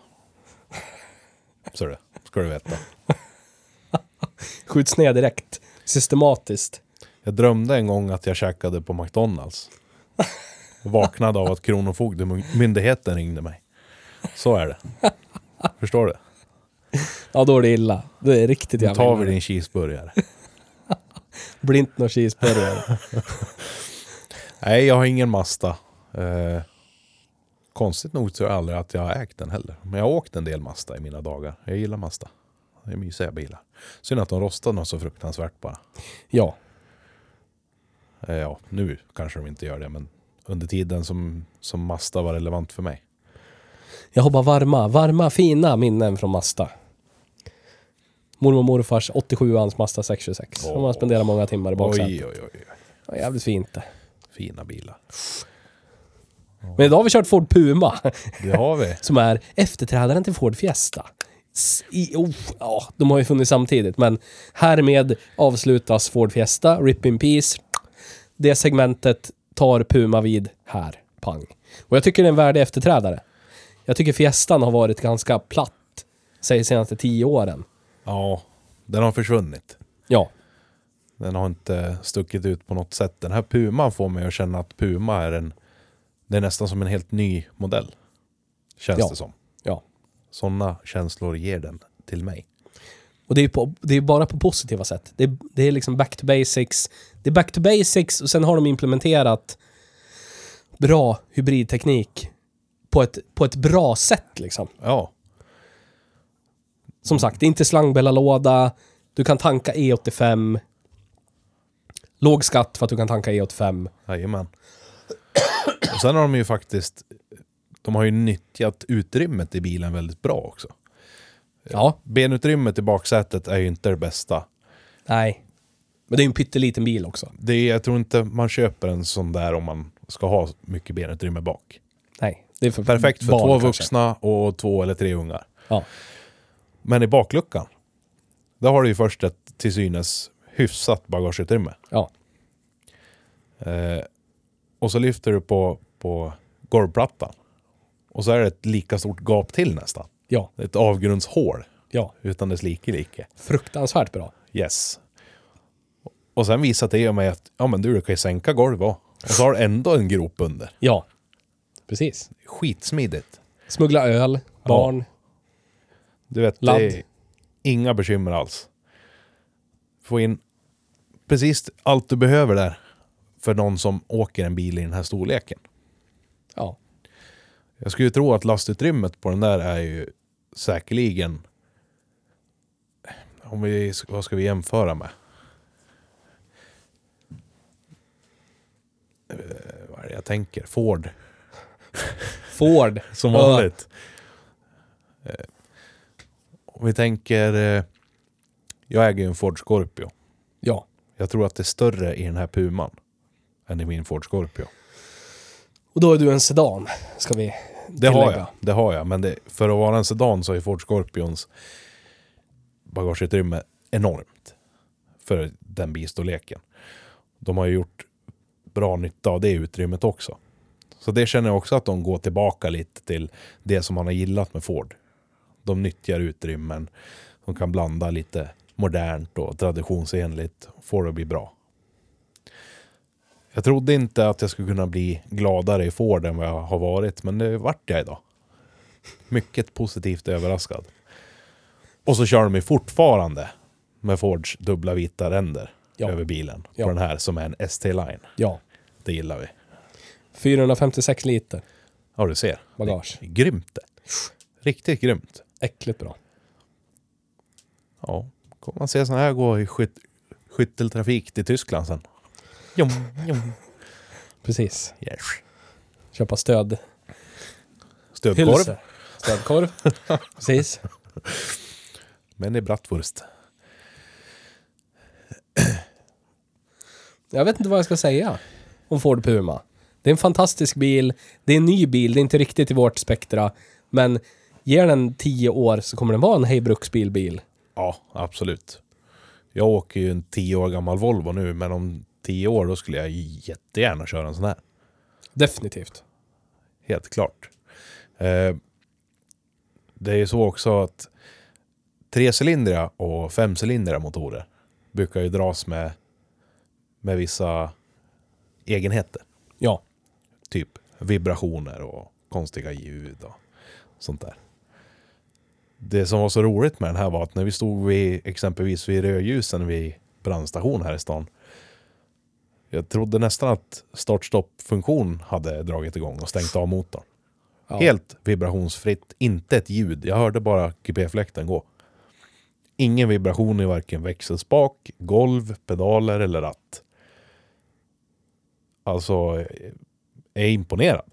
Speaker 2: Så är det, ska du veta.
Speaker 1: skjuts ner direkt. Systematiskt.
Speaker 2: Jag drömde en gång att jag käkade på McDonalds. Och vaknade av att Kronofogdemyndigheten ringde mig. Så är det. Förstår du?
Speaker 1: Ja, då är det illa. Det är riktigt
Speaker 2: Nu
Speaker 1: jävla
Speaker 2: tar vi
Speaker 1: illa.
Speaker 2: din cheeseburgare.
Speaker 1: Blint och cheeseburgare.
Speaker 2: Nej, jag har ingen Mazda. Eh, konstigt nog så är jag aldrig att jag har ägt den heller. Men jag har åkt en del Mazda i mina dagar. Jag gillar Mazda. Det är mysiga bilar. Synd att de rostar något så fruktansvärt bara.
Speaker 1: ja.
Speaker 2: Eh, ja, nu kanske de inte gör det, men under tiden som, som Mazda var relevant för mig.
Speaker 1: Jag har bara varma, varma fina minnen från Masta. Mormor och morfars 87ans Masta 626. Som man
Speaker 2: Åh.
Speaker 1: spenderar många timmar i baksätet.
Speaker 2: Oj, oj, oj, oj.
Speaker 1: Det var Jävligt fint det.
Speaker 2: Fina bilar.
Speaker 1: Men idag har vi kört Ford Puma.
Speaker 2: Det har vi.
Speaker 1: Som är efterträdaren till Ford Fiesta. S- I, oh, ja, de har ju funnits samtidigt, men härmed avslutas Ford Fiesta, RIP in Peace. Det segmentet tar Puma vid här, pang. Och jag tycker det är en värdig efterträdare. Jag tycker Fiestan har varit ganska platt, säg de senaste tio åren.
Speaker 2: Ja, den har försvunnit.
Speaker 1: Ja,
Speaker 2: Den har inte stuckit ut på något sätt. Den här Puman får mig att känna att Puma är en... Det är nästan som en helt ny modell. Känns
Speaker 1: Ja.
Speaker 2: det som.
Speaker 1: ja.
Speaker 2: Sådana känslor ger den till mig.
Speaker 1: Och det är, på, det är bara på positiva sätt. Det är, det är liksom back to basics. Det är back to basics och sen har de implementerat bra hybridteknik på ett, på ett bra sätt liksom.
Speaker 2: Ja,
Speaker 1: Som sagt, det är inte slangbällalåda. Du kan tanka E85. Låg skatt för att du kan tanka E E85.
Speaker 2: jajamän. Och sen har de ju faktiskt... De har ju nyttjat utrymmet i bilen väldigt bra också.
Speaker 1: Ja,
Speaker 2: Benutrymmet i baksätet är ju inte det bästa.
Speaker 1: nej. Men det är ju en pytteliten bil också.
Speaker 2: Det är, jag tror inte man köper en sån där om man ska ha mycket benutrymme bak.
Speaker 1: Nej, det är för
Speaker 2: Perfekt för
Speaker 1: barn,
Speaker 2: två
Speaker 1: kanske.
Speaker 2: vuxna och två eller tre ungar.
Speaker 1: Ja.
Speaker 2: Men i bakluckan, där har du ju först ett till synes hyfsat bagageutrymme.
Speaker 1: ja.
Speaker 2: Eh, och så lyfter du på, på golvplattan. Och så är det ett lika stort gap till nästan.
Speaker 1: Ja,
Speaker 2: Ett avgrundshål
Speaker 1: ja.
Speaker 2: utan dess like like.
Speaker 1: Fruktansvärt bra.
Speaker 2: Yes. Och sen visar det mig att ja, men du, du kan ju sänka golvet också. Och så har du ändå en grop under.
Speaker 1: Ja, precis.
Speaker 2: Skitsmidigt.
Speaker 1: Smuggla öl, barn.
Speaker 2: Du vet,
Speaker 1: Ladd.
Speaker 2: det är inga bekymmer alls. Få in precis allt du behöver där för någon som åker en bil i den här storleken.
Speaker 1: Ja.
Speaker 2: Jag skulle ju tro att lastutrymmet på den där är ju säkerligen... Om vi, vad ska vi jämföra med? Eh, Vad är det jag tänker? Ford.
Speaker 1: Ford.
Speaker 2: Som vanligt. Eh, Om vi tänker... eh, Jag äger ju en Ford Scorpio.
Speaker 1: Ja.
Speaker 2: Jag tror att det är större i den här Puman än i min Ford Scorpio.
Speaker 1: Och då är du en sedan, ska vi
Speaker 2: Det har
Speaker 1: tillägga.
Speaker 2: jag, det har jag. Men det, för att vara en sedan så är Ford Scorpions bagageutrymme enormt. För den bilstorleken. De har ju gjort bra nytta av det utrymmet också. Så det känner jag också att de går tillbaka lite till det som man har gillat med Ford. De nyttjar utrymmen. De kan blanda lite modernt och traditionsenligt. Får det att bli bra. Jag trodde inte att jag skulle kunna bli gladare i Ford än vad jag har varit, men det vart jag idag. Mycket positivt överraskad. Och så kör de ju fortfarande med Fords dubbla vita ränder
Speaker 1: Ja.
Speaker 2: över bilen.
Speaker 1: Ja.
Speaker 2: På den här som är en ST-line.
Speaker 1: Ja.
Speaker 2: Det gillar vi.
Speaker 1: 456 liter
Speaker 2: Ja, du ser.
Speaker 1: bagage.
Speaker 2: Det är Grymt det. Riktigt grymt.
Speaker 1: Äckligt bra.
Speaker 2: Ja, kommer man se sådana här gå i skyt skytteltrafik till Tyskland sen. Jom, jom.
Speaker 1: Precis.
Speaker 2: Yes.
Speaker 1: Köpa stöd.
Speaker 2: Stödkorv,
Speaker 1: Hylsor. Stödkorv. Precis.
Speaker 2: men det är bratwurst.
Speaker 1: Jag vet inte vad jag ska säga om Ford Puma. Det är en fantastisk bil. Det är en ny bil. Det är inte riktigt i vårt spektra. Men ger den 10 år så kommer den vara en hejbruksbilbil.
Speaker 2: Ja, absolut. Jag åker ju en tio år gammal Volvo nu, men om tio år då skulle jag jättegärna köra en sån här.
Speaker 1: Definitivt.
Speaker 2: Helt klart. Eh, det är ju så också att trecylindriga och femcylindriga motorer brukar ju dras med, med vissa egenheter.
Speaker 1: Ja.
Speaker 2: Typ vibrationer och konstiga ljud och sånt där. Det som var så roligt med den här var att när vi stod vid, exempelvis vid rödljusen vid brandstationen här i stan. Jag trodde nästan att start-stopp-funktion hade dragit igång och stängt av motorn.
Speaker 1: ja.
Speaker 2: Helt vibrationsfritt, inte ett ljud. Jag hörde bara kupéfläkten gå. Ingen vibration i varken växelspak, golv, pedaler eller ratt. Alltså, jag är imponerad.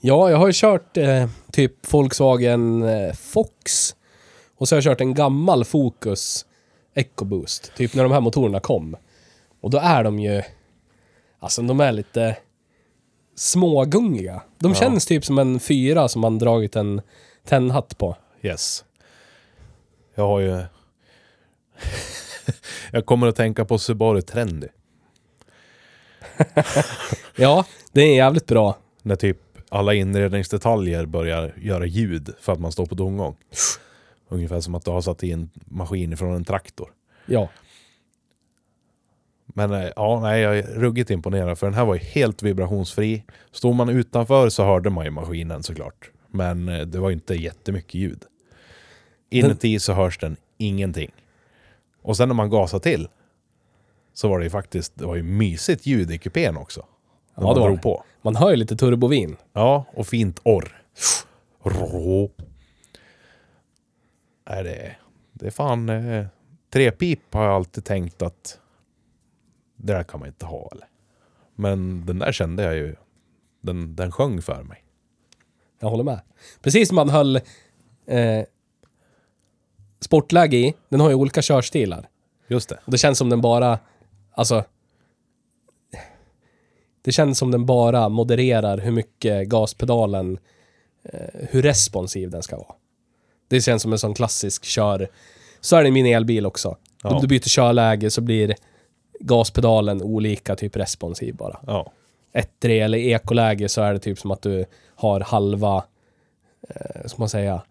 Speaker 1: Ja, jag har ju kört eh, typ Volkswagen eh, Fox. Och så har jag kört en gammal Focus EcoBoost. Typ när de här motorerna kom. Och då är de ju... Alltså de är lite smågungiga. De känns typ som en fyra som man dragit en tennhatt på.
Speaker 2: Yes. Jag har ju... jag kommer att tänka på Subaru Trendy.
Speaker 1: Ja, det är jävligt bra.
Speaker 2: När typ alla inredningsdetaljer börjar göra ljud för att man står på tomgång. Ungefär som att du har satt i en maskin från en traktor.
Speaker 1: Ja,
Speaker 2: Men eh, ja, nej, jag är ruggigt imponerad för den här var ju helt vibrationsfri. Stod man utanför så hörde man ju maskinen såklart. Men eh, det var ju inte jättemycket ljud. Inuti så hörs den ingenting. Och sen när man gasar till så var det ju faktiskt, det var ju mysigt ljud i kupén också.
Speaker 1: Ja,
Speaker 2: När man
Speaker 1: det var
Speaker 2: drog
Speaker 1: det.
Speaker 2: på.
Speaker 1: man hör ju lite turbovin.
Speaker 2: Ja, och fint orr. Rå. Nej, det, det är fan... Eh, trepip har jag alltid tänkt att det där kan man inte ha. Eller? Men den där kände jag ju. Den, den sjöng för mig.
Speaker 1: Jag håller med. Precis som man höll eh, sportläge i. Den har ju olika körstilar.
Speaker 2: Just det.
Speaker 1: Och det känns som den bara, alltså. Det känns som den bara modererar hur mycket gaspedalen, eh, hur responsiv den ska vara. Det känns som en sån klassisk kör. Så är det i min elbil också.
Speaker 2: Ja.
Speaker 1: Om du byter körläge så blir gaspedalen olika typ responsiv bara.
Speaker 2: Ja.
Speaker 1: 1-3 eller ekoläge så är det typ som att du har halva, eh, ska man säga,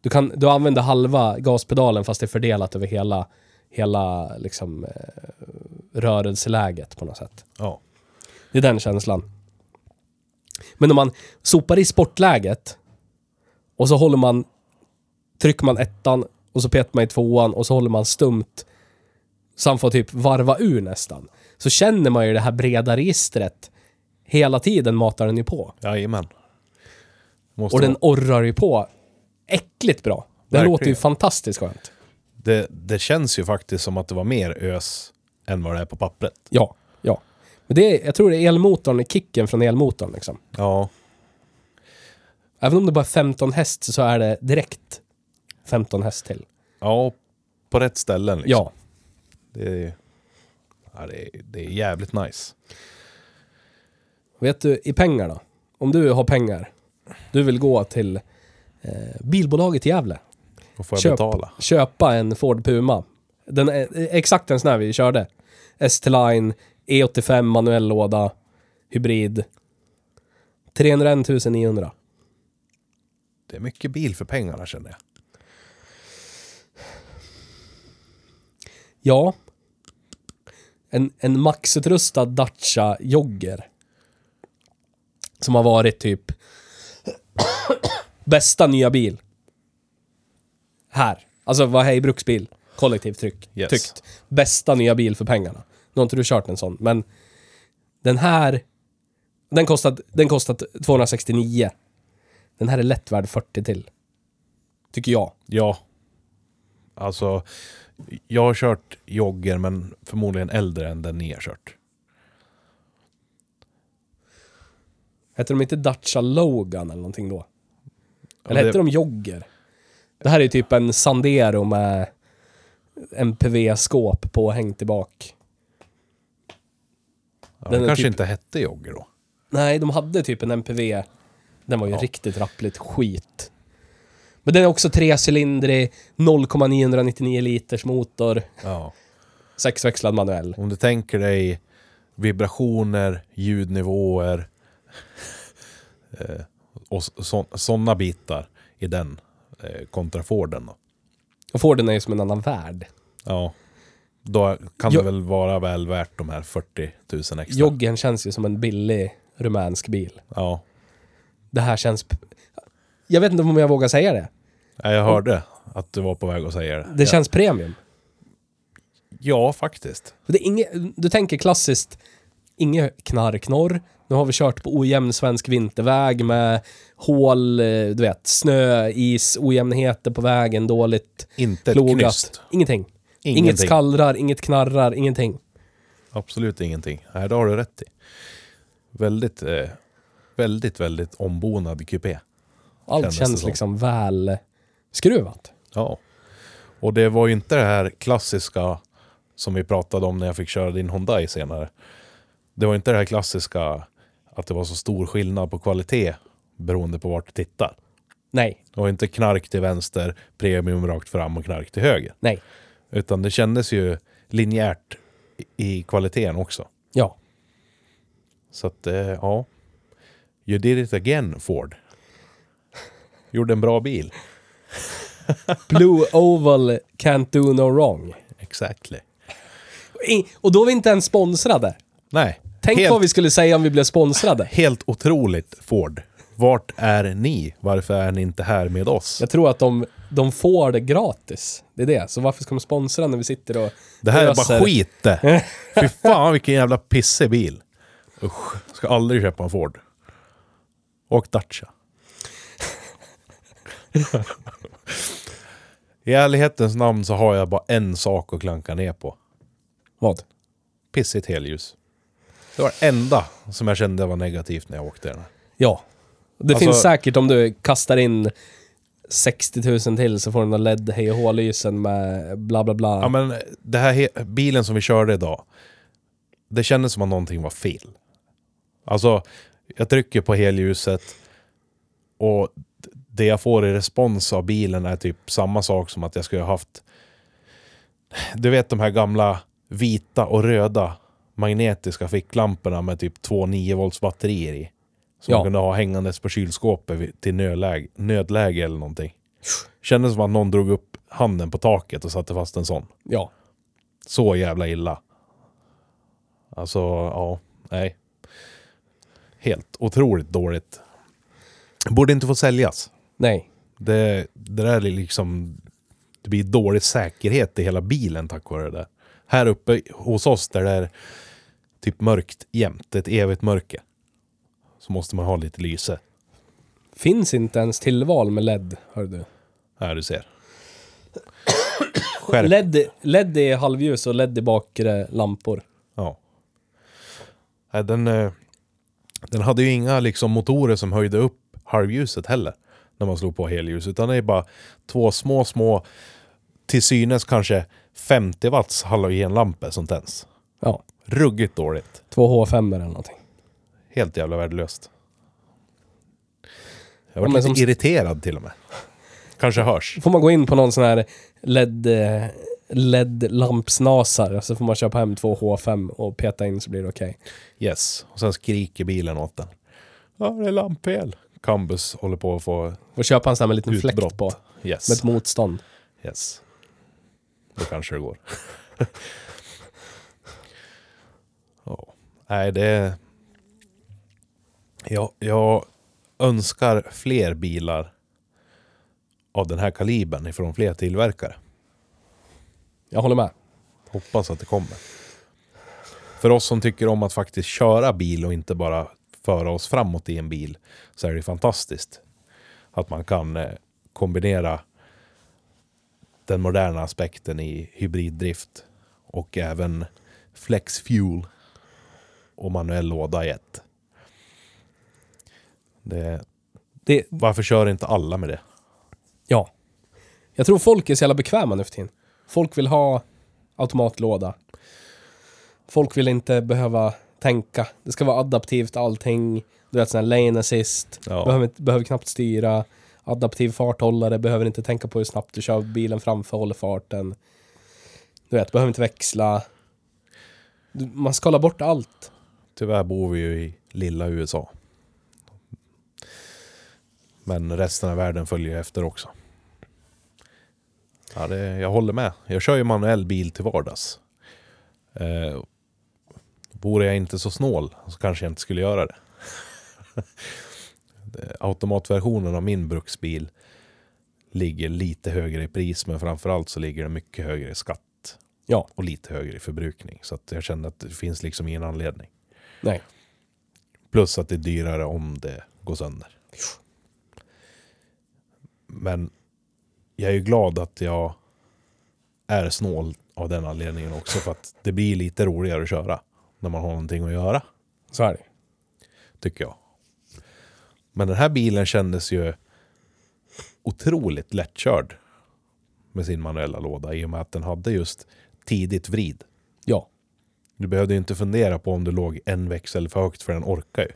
Speaker 1: du, kan, du använder halva gaspedalen fast det är fördelat över hela, hela liksom, eh, rörelseläget på något sätt.
Speaker 2: Ja.
Speaker 1: Det är den känslan. Men om man sopar i sportläget och så håller man, trycker man ettan och så petar man i tvåan och så håller man stumt så han får typ varva ur nästan. Så känner man ju det här breda registret hela tiden matar den ju på.
Speaker 2: Jajamän. Måste
Speaker 1: Och den
Speaker 2: vara-
Speaker 1: orrar ju på äckligt bra. Den
Speaker 2: Verkligen.
Speaker 1: låter ju fantastiskt skönt.
Speaker 2: det, det känns ju faktiskt som att det var mer ös än vad det är på pappret.
Speaker 1: Ja, ja. Men det är, jag tror det är elmotorn, kicken från elmotorn liksom.
Speaker 2: Ja.
Speaker 1: Även om det bara är 15 häst så är det direkt 15 häst till.
Speaker 2: Ja, på rätt ställen. Liksom.
Speaker 1: Ja.
Speaker 2: Det är, ja, det, är, det är jävligt nice.
Speaker 1: Vet du, i pengar då? Om du har pengar, du vill gå till eh, bilbolaget i Gävle.
Speaker 2: Och får jag
Speaker 1: Köp.
Speaker 2: betala?
Speaker 1: köpa en Ford Puma. Den är exakt en sån här vi körde. ST-Line, E85 manuell låda, hybrid. 301 900.
Speaker 2: Det är mycket bil för pengarna känner jag.
Speaker 1: Ja. En, en maxutrustad Dacia Jogger. Som har varit typ bästa nya bil. Här. Alltså vad är bruksbil? Kollektivt tryck.
Speaker 2: Yes.
Speaker 1: Tyckt. Bästa nya bil för pengarna. Nu har inte du kört en sån, men den här den kostat, den kostat 269. Den här är lätt värd 40 till. Tycker jag.
Speaker 2: Ja. Alltså, jag har kört jogger men förmodligen äldre än den ni har kört.
Speaker 1: Hette de inte Dacia Logan eller någonting då?
Speaker 2: men
Speaker 1: Eller hette
Speaker 2: det-
Speaker 1: de Jogger? Det här är ju typ en Sandero med MPV-skåp påhängt i bak.
Speaker 2: Ja,
Speaker 1: den
Speaker 2: den
Speaker 1: är
Speaker 2: kanske
Speaker 1: typ-
Speaker 2: inte hette jogger då.
Speaker 1: Nej, de hade typ en MPV. Den var ju
Speaker 2: Ja.
Speaker 1: riktigt rappligt skit. Men den är också trecylindrig, 0,999 liters motor,
Speaker 2: Ja.
Speaker 1: sexväxlad manuell.
Speaker 2: Om du tänker dig vibrationer, ljudnivåer eh, och sådana bitar i den eh, kontra Forden då.
Speaker 1: Och Forden är ju som en annan värld.
Speaker 2: Ja. Då kan
Speaker 1: Jo-
Speaker 2: det väl vara väl värt de här 40 000 extra.
Speaker 1: Joggen känns ju som en billig rumänsk bil.
Speaker 2: Ja.
Speaker 1: Det här känns... p- Jag vet inte om jag vågar säga det.
Speaker 2: Ja, Jag hörde att du var på väg att säga det.
Speaker 1: Det
Speaker 2: ja.
Speaker 1: känns premium.
Speaker 2: ja, faktiskt.
Speaker 1: För Det är inget, du tänker klassiskt, inget knarknorr. Nu har vi kört på ojämn svensk vinterväg med hål, eh, du vet, snö, is, ojämnheter på vägen, dåligt
Speaker 2: Inte ett knyst.
Speaker 1: plogat. Ingenting. Inget
Speaker 2: Ingenting.
Speaker 1: skallrar, inget knarrar, ingenting.
Speaker 2: Absolut ingenting. Nej, det har du rätt i. Väldigt, eh, väldigt, väldigt ombonad kupé.
Speaker 1: Allt
Speaker 2: Kändes det
Speaker 1: känns
Speaker 2: som.
Speaker 1: liksom väl skruvat.
Speaker 2: Ja. Och det var ju inte det här klassiska som vi pratade om när jag fick köra din Hyundai senare. Det var inte det här klassiska att det var så stor skillnad på kvalitet beroende på vart du tittar.
Speaker 1: Nej,
Speaker 2: Det var inte knark till vänster, premium rakt fram och knark till höger.
Speaker 1: nej,
Speaker 2: Utan det kändes ju linjärt i- i kvaliteten också.
Speaker 1: ja.
Speaker 2: Så att, eh, ja. You did it again, Ford. Gjorde en bra bil.
Speaker 1: Blue Oval can't do no wrong.
Speaker 2: Exactly.
Speaker 1: I- Och då är vi inte ens sponsrade.
Speaker 2: Nej.
Speaker 1: Tänk
Speaker 2: helt,
Speaker 1: vad vi skulle säga om vi blev sponsrade.
Speaker 2: helt otroligt, Ford. Vart är ni? Varför är ni inte här med oss?
Speaker 1: Jag tror att de, de får det gratis. Det är det. Så varför ska de sponsra när vi sitter och
Speaker 2: Det här är
Speaker 1: öser?
Speaker 2: bara skit det. Fy fan vilken jävla pissig bil. Usch, ska aldrig köpa en Ford. Och Dacia. I ärlighetens namn så har jag bara en sak att klanka ner på.
Speaker 1: Vad?
Speaker 2: Pissigt helljus. Det var det enda som jag kände var negativt när jag åkte den. här.
Speaker 1: Ja. Det
Speaker 2: Alltså-
Speaker 1: finns säkert om du kastar in 60 000 till så får du några LED hej och hå-lysen med bla bla bla.
Speaker 2: Ja men det här he- bilen som vi körde idag. Det kändes som att någonting var fel. Alltså, jag trycker på helljuset och d- det jag får i respons av bilen är typ samma sak som att jag skulle ha haft... Du vet de här gamla vita och röda magnetiska ficklamporna med typ två 9 volts batterier i. Som
Speaker 1: Ja.
Speaker 2: man kunde ha hängandes på kylskåpet vid- till nödläge, nödläge eller någonting. Kändes som att någon drog upp handen på taket och satte fast en sån.
Speaker 1: Ja.
Speaker 2: Så jävla illa. Alltså, ja. Nej. Helt otroligt dåligt. Borde inte få säljas.
Speaker 1: Nej.
Speaker 2: Det, det där är liksom... Det blir dålig säkerhet i hela bilen tack vare det där. Här uppe hos oss där det är typ mörkt jämt, det är ett evigt mörker. Så måste man ha lite lyse.
Speaker 1: Finns inte ens tillval med LED, hör du.
Speaker 2: Här du ser. Skärp.
Speaker 1: LED, LED är halvljus och LED är bakre lampor.
Speaker 2: Ja. Nej, Den, eh, den hade ju inga liksom motorer som höjde upp halvljuset heller. När man slog på helljus. Utan det är bara två små, små till synes kanske 50 watts halogenlampor som tänds.
Speaker 1: Ja.
Speaker 2: Ruggigt dåligt.
Speaker 1: Två H5 eller någonting.
Speaker 2: Helt jävla värdelöst. Jag
Speaker 1: Ja,
Speaker 2: var
Speaker 1: men
Speaker 2: lite
Speaker 1: som-
Speaker 2: irriterad till och med. Kanske hörs.
Speaker 1: Får man gå in på någon sån här LED, eh, LED-lampsnasar så får man köpa hem två H5 och peta in så blir det okej.
Speaker 2: Yes. Och sen skriker bilen åt den. Ja, det är lampfel. Cambus håller på att få
Speaker 1: Och köpa en sån här med en liten fläkt
Speaker 2: utbrott.
Speaker 1: på.
Speaker 2: Yes.
Speaker 1: Med ett motstånd.
Speaker 2: Yes. Då kanske det går. ja. Nej, det... Jag, jag önskar fler bilar av den här kalibern ifrån fler tillverkare.
Speaker 1: Jag håller med.
Speaker 2: Hoppas att det kommer. För oss som tycker om att faktiskt köra bil och inte bara föra oss framåt i en bil så är det fantastiskt att man kan eh, kombinera den moderna aspekten i hybriddrift och även flex fuel och manuell låda i ett. Det,
Speaker 1: Det,
Speaker 2: varför kör inte alla med det?
Speaker 1: ja. Jag tror folk är så jävla bekväma nu för tiden. Folk vill ha automatlåda. Folk vill inte behöva tänka. Det ska vara adaptivt allting. Du vet sån här lane assist.
Speaker 2: Ja.
Speaker 1: Behöver, inte- behöver knappt styra. Adaptiv farthållare. Behöver inte tänka på hur snabbt du kör bilen framför håller farten. Du vet, behöver inte växla. Du, man skalar bort allt.
Speaker 2: Tyvärr bor vi ju i lilla USA. Men resten av världen följer ju efter också. Ja, det, jag håller med. Jag kör ju manuell bil till vardags. Eh, vore jag inte så snål så kanske jag inte skulle göra det. Det- Automatversionen av min bruksbil ligger lite högre i pris men framförallt så ligger den mycket högre i skatt
Speaker 1: Ja,
Speaker 2: och lite högre i förbrukning. Så att jag kände att det finns liksom ingen anledning.
Speaker 1: nej.
Speaker 2: Plus att det är dyrare om det går sönder. Men jag är ju glad att jag är snål av den anledningen också. För att det blir lite roligare att köra när man har någonting att göra,
Speaker 1: Så är det.
Speaker 2: tycker jag. Men den här bilen kändes ju otroligt lättkörd med sin manuella låda i och med att den hade just tidigt vrid.
Speaker 1: Ja.
Speaker 2: Du behövde ju inte fundera på om du låg en växel för högt för den orkar ju.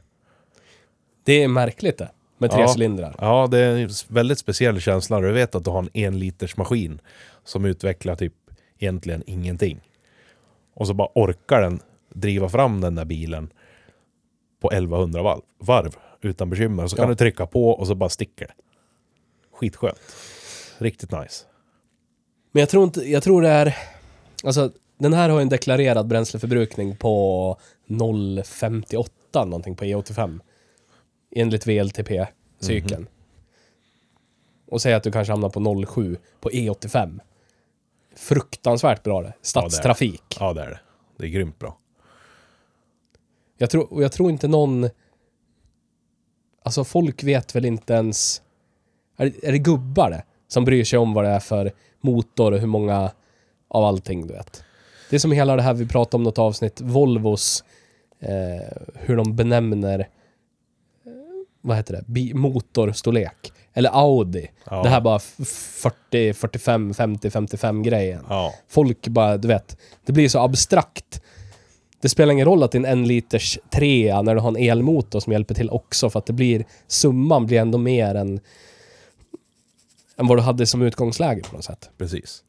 Speaker 1: Det är märkligt det. Med tre
Speaker 2: Ja.
Speaker 1: cylindrar.
Speaker 2: Ja, det är en väldigt speciell känsla. Du vet att du har en enlitersmaskin som utvecklar typ egentligen ingenting. Och så bara orkar den driva fram den där bilen på 1100 varv, varv utan bekymmer. Och så kan
Speaker 1: Ja.
Speaker 2: du trycka på och så bara sticker det. Skitskönt. Riktigt nice.
Speaker 1: Men jag tror inte, jag tror det är, alltså den här har ju en deklarerad bränsleförbrukning på 0,58 någonting på E85. Enligt VLTP-cykeln. Och säg att du kanske hamnar på 0,7 på E85. Fruktansvärt bra det. Stadstrafik.
Speaker 2: Ja, det är det. Det är grymt bra.
Speaker 1: Jag tror, och jag tror inte någon... Alltså folk vet väl inte ens... Är, det- är det gubbar det? Som bryr sig om vad det är för motor och hur många av allting du vet. Det är som hela det här vi pratade om något avsnitt, Volvos, eh, hur de benämner, eh, vad heter det, Bi motorstorlek. Eller Audi.
Speaker 2: Ja.
Speaker 1: Det här bara f- 40, 45, 50, 55 grejen.
Speaker 2: Ja.
Speaker 1: Folk bara, du vet, det blir så abstrakt. Det spelar ingen roll att det är en liters trea när du har en elmotor som hjälper till också för att det blir, summan blir ändå mer än, än vad du hade som utgångsläge på något sätt.
Speaker 2: Precis.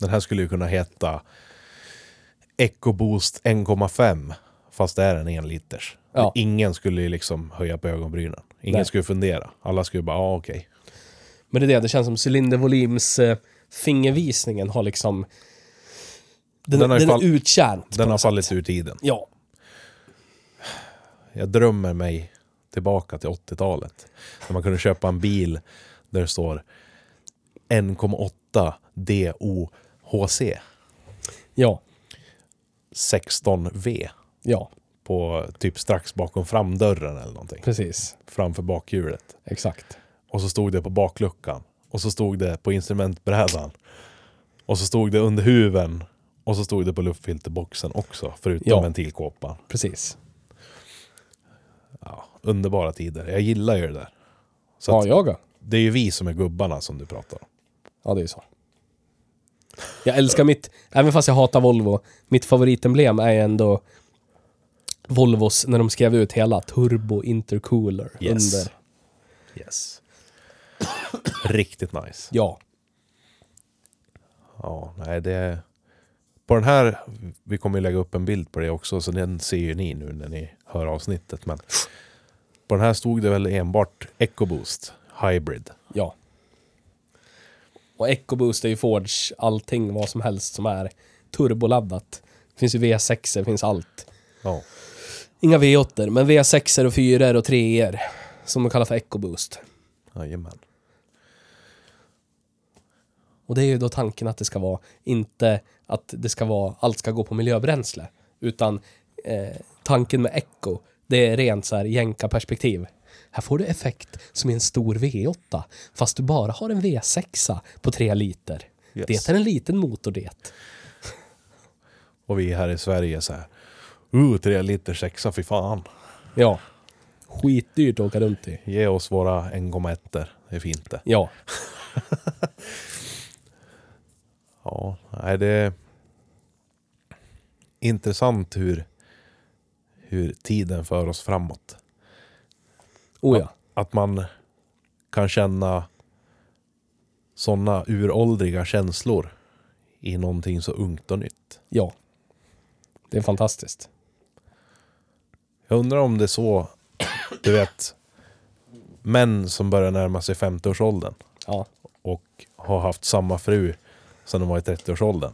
Speaker 2: Den här skulle ju kunna heta EcoBoost 1,5 fast det är en enliters.
Speaker 1: Ja.
Speaker 2: Ingen skulle ju liksom höja på ögonbrynen. Ingen
Speaker 1: Nej.
Speaker 2: skulle fundera. Alla skulle bara, ja ah, okej.
Speaker 1: Men det är det, det känns som cylindervolyms eh, fingervisningen har liksom... Den,
Speaker 2: Den
Speaker 1: den,
Speaker 2: har
Speaker 1: är
Speaker 2: fall-
Speaker 1: uttjänt.
Speaker 2: Den har fallit ur tiden.
Speaker 1: Ja.
Speaker 2: Jag drömmer mig tillbaka till 80-talet. När man kunde köpa en bil där det står 1,8 DOHC
Speaker 1: Ja.
Speaker 2: 16V
Speaker 1: Ja.
Speaker 2: på typ strax bakom framdörren eller någonting.
Speaker 1: Precis.
Speaker 2: Framför bakhjulet.
Speaker 1: Exakt.
Speaker 2: Och så stod det på bakluckan. Och så stod det på instrumentbrädan. Och så stod det under huven. Och så stod det på luftfilterboxen också, förutom
Speaker 1: Ja.
Speaker 2: ventilkåpan.
Speaker 1: Precis.
Speaker 2: Ja, underbara tider. Jag gillar ju det där. Så
Speaker 1: ja,
Speaker 2: att
Speaker 1: jag då?
Speaker 2: det är ju vi som är gubbarna som du pratar om.
Speaker 1: Ja, det är ju så. Jag älskar mitt, även fast jag hatar Volvo, mitt favoritemblem är ju ändå Volvos, när de skrev ut hela Turbo Intercooler
Speaker 2: Yes.
Speaker 1: under.
Speaker 2: Yes. Riktigt nice.
Speaker 1: Ja.
Speaker 2: Ja, nej det... På den här, vi kommer ju lägga upp en bild på det också, så den ser ju ni nu när ni hör avsnittet. Men på den här stod det väl enbart EcoBoost Hybrid.
Speaker 1: Ja. Och EcoBoost är ju Fords allting, vad som helst som är turboladdat. Det finns ju V6, det finns allt.
Speaker 2: Ja.
Speaker 1: Inga V8, men V6 och 4 och 3 som de kallar för EcoBoost.
Speaker 2: Jajamän.
Speaker 1: Och det är ju då tanken att det ska vara, inte att det ska vara, allt ska gå på miljöbränsle, utan eh, tanken med Echo, det är rent så här jänkarperspektiv. Här får du effekt som i en stor V8, fast du bara har en V6 på 3 liter.
Speaker 2: Yes.
Speaker 1: Det är en liten motor det.
Speaker 2: Och vi här i Sverige så här. Uh, tre liter sexa, fy fan.
Speaker 1: Ja. Skitdyrt att åka runt i.
Speaker 2: Ge oss våra 1,1. Det är fint det.
Speaker 1: Ja.
Speaker 2: Ja, nej det är intressant hur, hur tiden för oss framåt.
Speaker 1: Oh ja.
Speaker 2: Att man kan känna sådana uråldriga känslor i någonting så ungt och nytt.
Speaker 1: Ja. Det är fantastiskt.
Speaker 2: Jag undrar om det är så, du vet, män som börjar närma sig 50-årsåldern
Speaker 1: Ja.
Speaker 2: och har haft samma fru sedan de var i 30-årsåldern.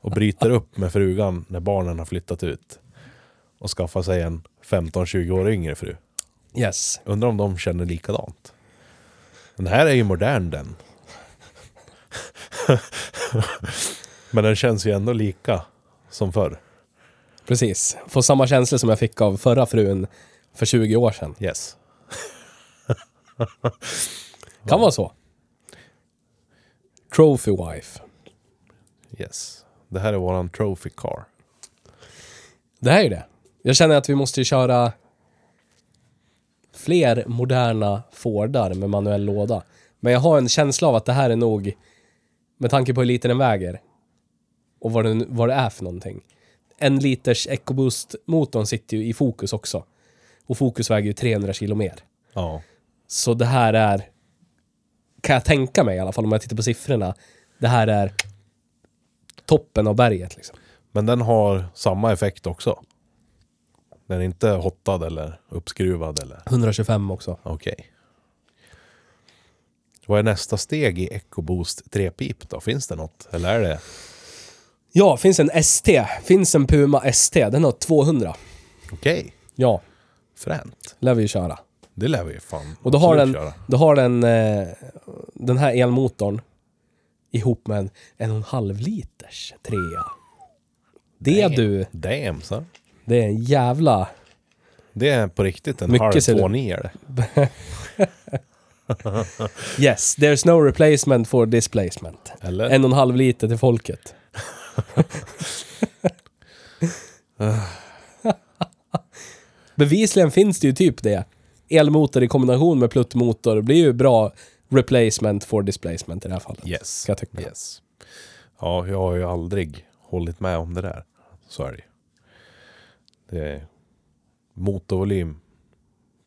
Speaker 2: Och bryter upp med frugan när barnen har flyttat ut. Och skaffar sig en 15-20 år yngre fru.
Speaker 1: Yes.
Speaker 2: Undrar om de känner likadant. Den här är ju modern den. Men den känns ju ändå lika som förr.
Speaker 1: Precis. Får samma känsla som jag fick av förra frun för 20 år sedan.
Speaker 2: Yes.
Speaker 1: Kan vara så. Trophy wife.
Speaker 2: Yes. Det här är våran trophy car.
Speaker 1: Det här är ju det. Jag känner att vi måste ju köra fler moderna Fordar med manuell låda. Men jag har en känsla av att det här är nog, med tanke på hur liten den väger och vad, den, vad det är för någonting. En liters EcoBoost-motorn sitter ju i fokus också. Och fokus väger ju 300 kilo mer.
Speaker 2: Ja.
Speaker 1: Så det här är, kan jag tänka mig i alla fall om jag tittar på siffrorna, det här är toppen av berget liksom.
Speaker 2: Men den har samma effekt också. Den är inte hottad eller uppskruvad eller
Speaker 1: 125 också.
Speaker 2: Okej. Vad är nästa steg i EcoBoost 3-pip då? Finns det något? Eller är det?
Speaker 1: Ja, finns en ST. Finns en Puma ST. Den har 200.
Speaker 2: Okej.
Speaker 1: Ja,
Speaker 2: Fränt.
Speaker 1: lär vi ju köra.
Speaker 2: Det lär vi ju fan
Speaker 1: Och då har
Speaker 2: absolut
Speaker 1: den,
Speaker 2: köra.
Speaker 1: då har den eh, den här elmotorn ihop med en en och en halv liters trea. Det
Speaker 2: Damn.
Speaker 1: du,
Speaker 2: Damn, så.
Speaker 1: det är en jävla...
Speaker 2: Det är på riktigt en
Speaker 1: Mycket
Speaker 2: halv
Speaker 1: ser du.
Speaker 2: 2-9 är det.
Speaker 1: Yes, there's no replacement for displacement.
Speaker 2: Eller?
Speaker 1: En och en halv liter till folket. Bevisligen finns det ju typ det. Elmotor i kombination med pluttmotor blir ju bra replacement for displacement i det här fallet.
Speaker 2: Yes.
Speaker 1: Ska jag tycka.
Speaker 2: Yes. Ja, jag har ju aldrig hållit med om det där. Så är det ju. Det är... Motorvolym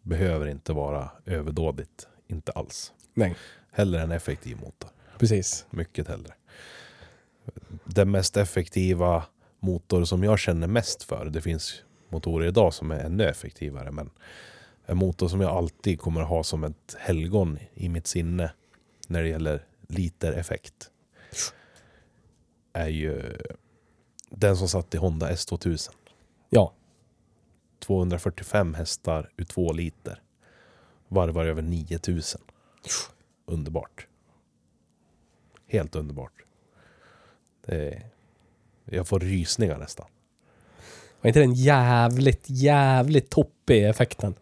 Speaker 2: behöver inte vara överdådigt. Inte alls.
Speaker 1: Nej,
Speaker 2: Hellre en effektiv motor.
Speaker 1: precis.
Speaker 2: Mycket hellre. Den mest effektiva motor som jag känner mest för. Det finns motorer idag som är ännu effektivare, men en motor som jag alltid kommer att ha som ett helgon i mitt sinne när det gäller liter effekt är ju den som satt i Honda S2000.
Speaker 1: Ja.
Speaker 2: 245 hästar ur 2 liter. Varvar över 9000. Underbart. Helt underbart. Det är, jag får rysningar nästan.
Speaker 1: Var inte den jävligt, jävligt toppig effekten?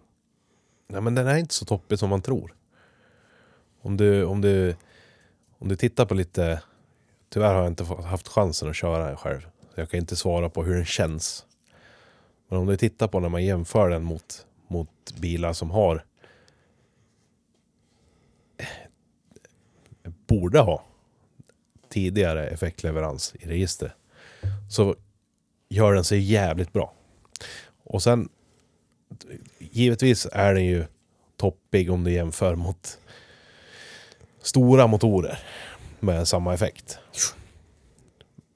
Speaker 2: Nej, men den är inte så toppig som man tror. Om du, om du, om du tittar på lite... Tyvärr har jag inte fått- haft chansen att köra den själv. Så Jag kan inte svara på hur den känns. Men om du tittar på när man jämför den mot, mot bilar som har... Borde ha tidigare effektleverans i register. Så gör den sig jävligt bra. Och sen givetvis är den ju toppig om du jämför mot stora motorer med samma effekt.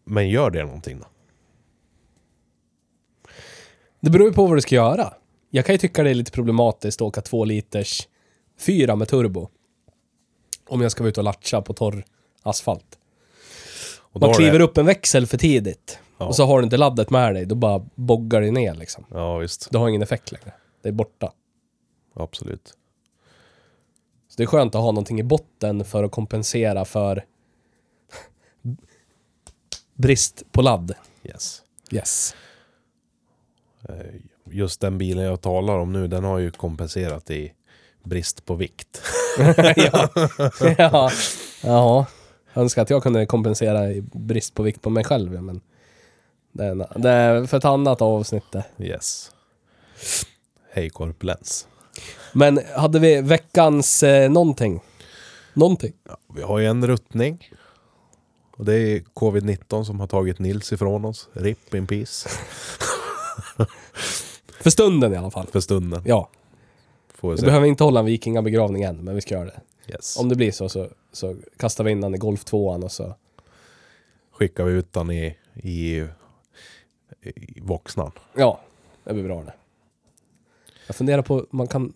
Speaker 2: Men gör det någonting då?
Speaker 1: Det beror ju på vad du ska göra. Jag kan ju tycka det är lite problematiskt att åka två liters fyra med turbo. Om jag ska vara ute och latcha på torr asfalt.
Speaker 2: Och då
Speaker 1: Man
Speaker 2: har
Speaker 1: kliver
Speaker 2: det...
Speaker 1: upp en växel för tidigt.
Speaker 2: Ja.
Speaker 1: Och så har du inte laddet med dig, då bara boggar det ner liksom.
Speaker 2: Ja, visst.
Speaker 1: Det har ingen effekt längre. Det är borta.
Speaker 2: Absolut.
Speaker 1: Så det är skönt att ha någonting i botten för att kompensera för brist på ladd.
Speaker 2: Yes.
Speaker 1: Yes.
Speaker 2: Eh, Just den bilen jag talar om nu, den har ju kompenserat i brist på vikt.
Speaker 1: ja. ja. ja. Jag önskar att jag kunde kompensera i brist på vikt på mig själv, ja, men det är, en- det är för ett annat avsnitt det.
Speaker 2: Yes. Hej korplens.
Speaker 1: Men hade vi veckans eh, någonting? Någonting?
Speaker 2: Vi har ju en ruttning. Och det är covid-19 som har tagit Nils ifrån oss. RIP in peace.
Speaker 1: För stunden i alla fall.
Speaker 2: För stunden.
Speaker 1: Ja.
Speaker 2: Får vi
Speaker 1: Vi
Speaker 2: se.
Speaker 1: behöver inte hålla en vikingabegravning än, men vi ska göra det.
Speaker 2: Yes.
Speaker 1: Om det blir så, så, så kastar vi in den i golftvåan och så
Speaker 2: skickar vi ut den i, i, i Voxnan.
Speaker 1: Ja, det blir bra det. Jag funderar på, man kan...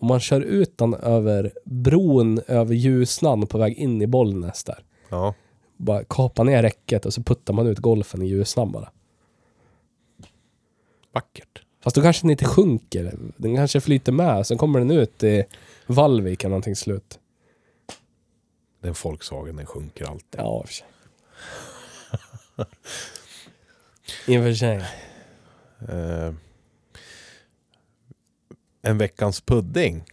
Speaker 1: Om man kör ut den över bron över Ljusnan på väg in i Bollnäs där.
Speaker 2: Ja.
Speaker 1: Bara kapa ner räcket och så puttar man ut golfen i Ljusnan bara.
Speaker 2: Vackert.
Speaker 1: Fast då kanske den inte sjunker. Den kanske flyter med. Sen kommer den ut i Vallvik eller någonting till slut.
Speaker 2: Den Volkswagen den sjunker alltid.
Speaker 1: Ja, i och för sig. I och för sig.
Speaker 2: Eh, en veckans pudding.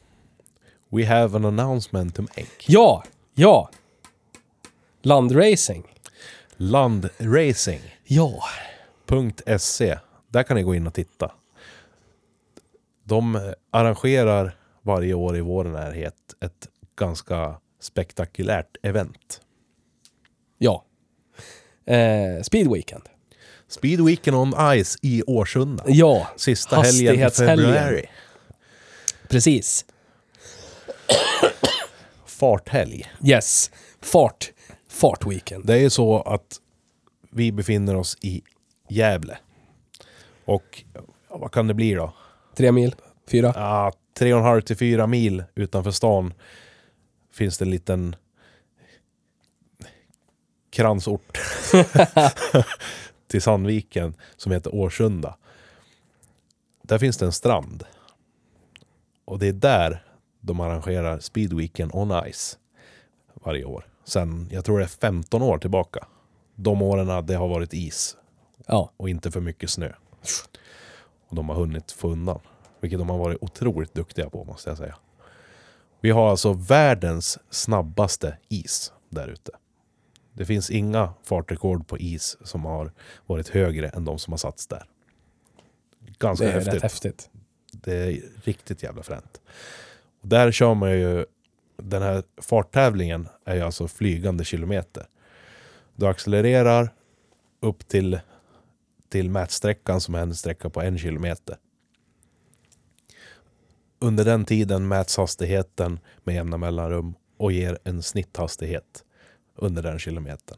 Speaker 2: We have an announcement to make.
Speaker 1: Ja, ja. Landracing.
Speaker 2: Landracing.se.
Speaker 1: Ja.
Speaker 2: E. Där kan ni gå in och titta. De eh, arrangerar varje år i vår närhet ett ganska spektakulärt event.
Speaker 1: Ja. Eh, speed Weekend.
Speaker 2: Speed Weekend on Ice i Årsunda.
Speaker 1: Ja,
Speaker 2: Sista helgen i
Speaker 1: Hastighetshelgen.
Speaker 2: februari.
Speaker 1: precis.
Speaker 2: Farthelg.
Speaker 1: Yes. Fart. Fart Weekend.
Speaker 2: Det är ju så att vi befinner oss i Gävle. Och ja, vad kan det bli då?
Speaker 1: Tre mil. Fyra.
Speaker 2: Ah, tre och en halv till fyra mil utanför stan finns det en liten kransort till Sandviken som heter Årsunda. Där finns det en strand. Och det är där de arrangerar Speedweeken on Ice varje år. Sen, jag tror det är 15 år tillbaka. De åren det har varit is
Speaker 1: Ja.
Speaker 2: och inte för mycket snö. Och de har hunnit få undan. Vilket de har varit otroligt duktiga på måste jag säga. Vi har alltså världens snabbaste is där ute. Det finns inga fartrekord på is som har varit högre än de som har satts där. Ganska
Speaker 1: Det är
Speaker 2: Alltså, häftigt
Speaker 1: rätt häftigt.
Speaker 2: det är riktigt jävla fränt. Och där kör man ju, den här farttävlingen är ju alltså flygande kilometer. Du accelererar upp till, till mätsträckan som är en sträcka på en kilometer. Under den tiden mäts hastigheten med jämna mellanrum och ger en snitthastighet under den kilometern.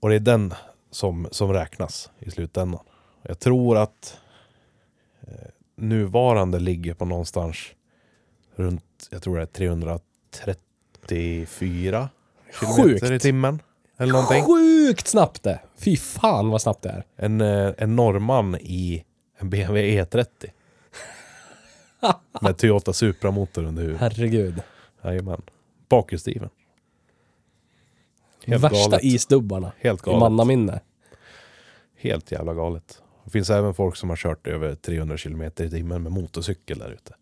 Speaker 2: Och det är den som, som räknas i slutändan. Jag tror att eh, nuvarande ligger på någonstans runt, jag tror det är 334 kilometer i
Speaker 1: Sjukt.
Speaker 2: timmen. Eller någonting.
Speaker 1: Sjukt snabbt det! Fy fan vad snabbt det är.
Speaker 2: En, eh, en norrman i en BMW E30. E Med Toyota Supra-motor under huvudet.
Speaker 1: Herregud.
Speaker 2: Jajamän. Bakhjulsdriven. Helt
Speaker 1: Värsta
Speaker 2: galet.
Speaker 1: isdubbarna.
Speaker 2: Helt
Speaker 1: I
Speaker 2: galet.
Speaker 1: mannaminne.
Speaker 2: Helt jävla galet. Det finns även folk som har kört över 300 kilometer i timmen med motorcykel där ute.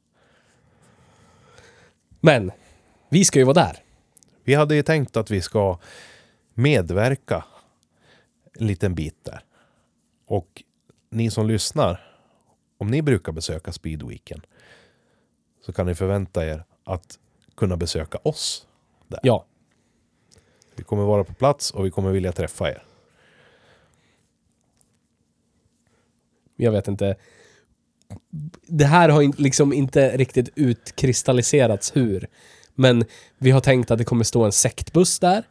Speaker 1: Men, vi ska ju vara där.
Speaker 2: Vi hade ju tänkt att vi ska medverka en liten bit där. Och ni som lyssnar, om ni brukar besöka Speedweeken så kan ni förvänta er att kunna besöka oss.
Speaker 1: Ja.
Speaker 2: Vi kommer vara på plats och vi kommer vilja träffa er.
Speaker 1: jag vet inte. Det här har in, liksom inte riktigt utkristalliserats hur. Men vi har tänkt att det kommer stå en sektbuss där.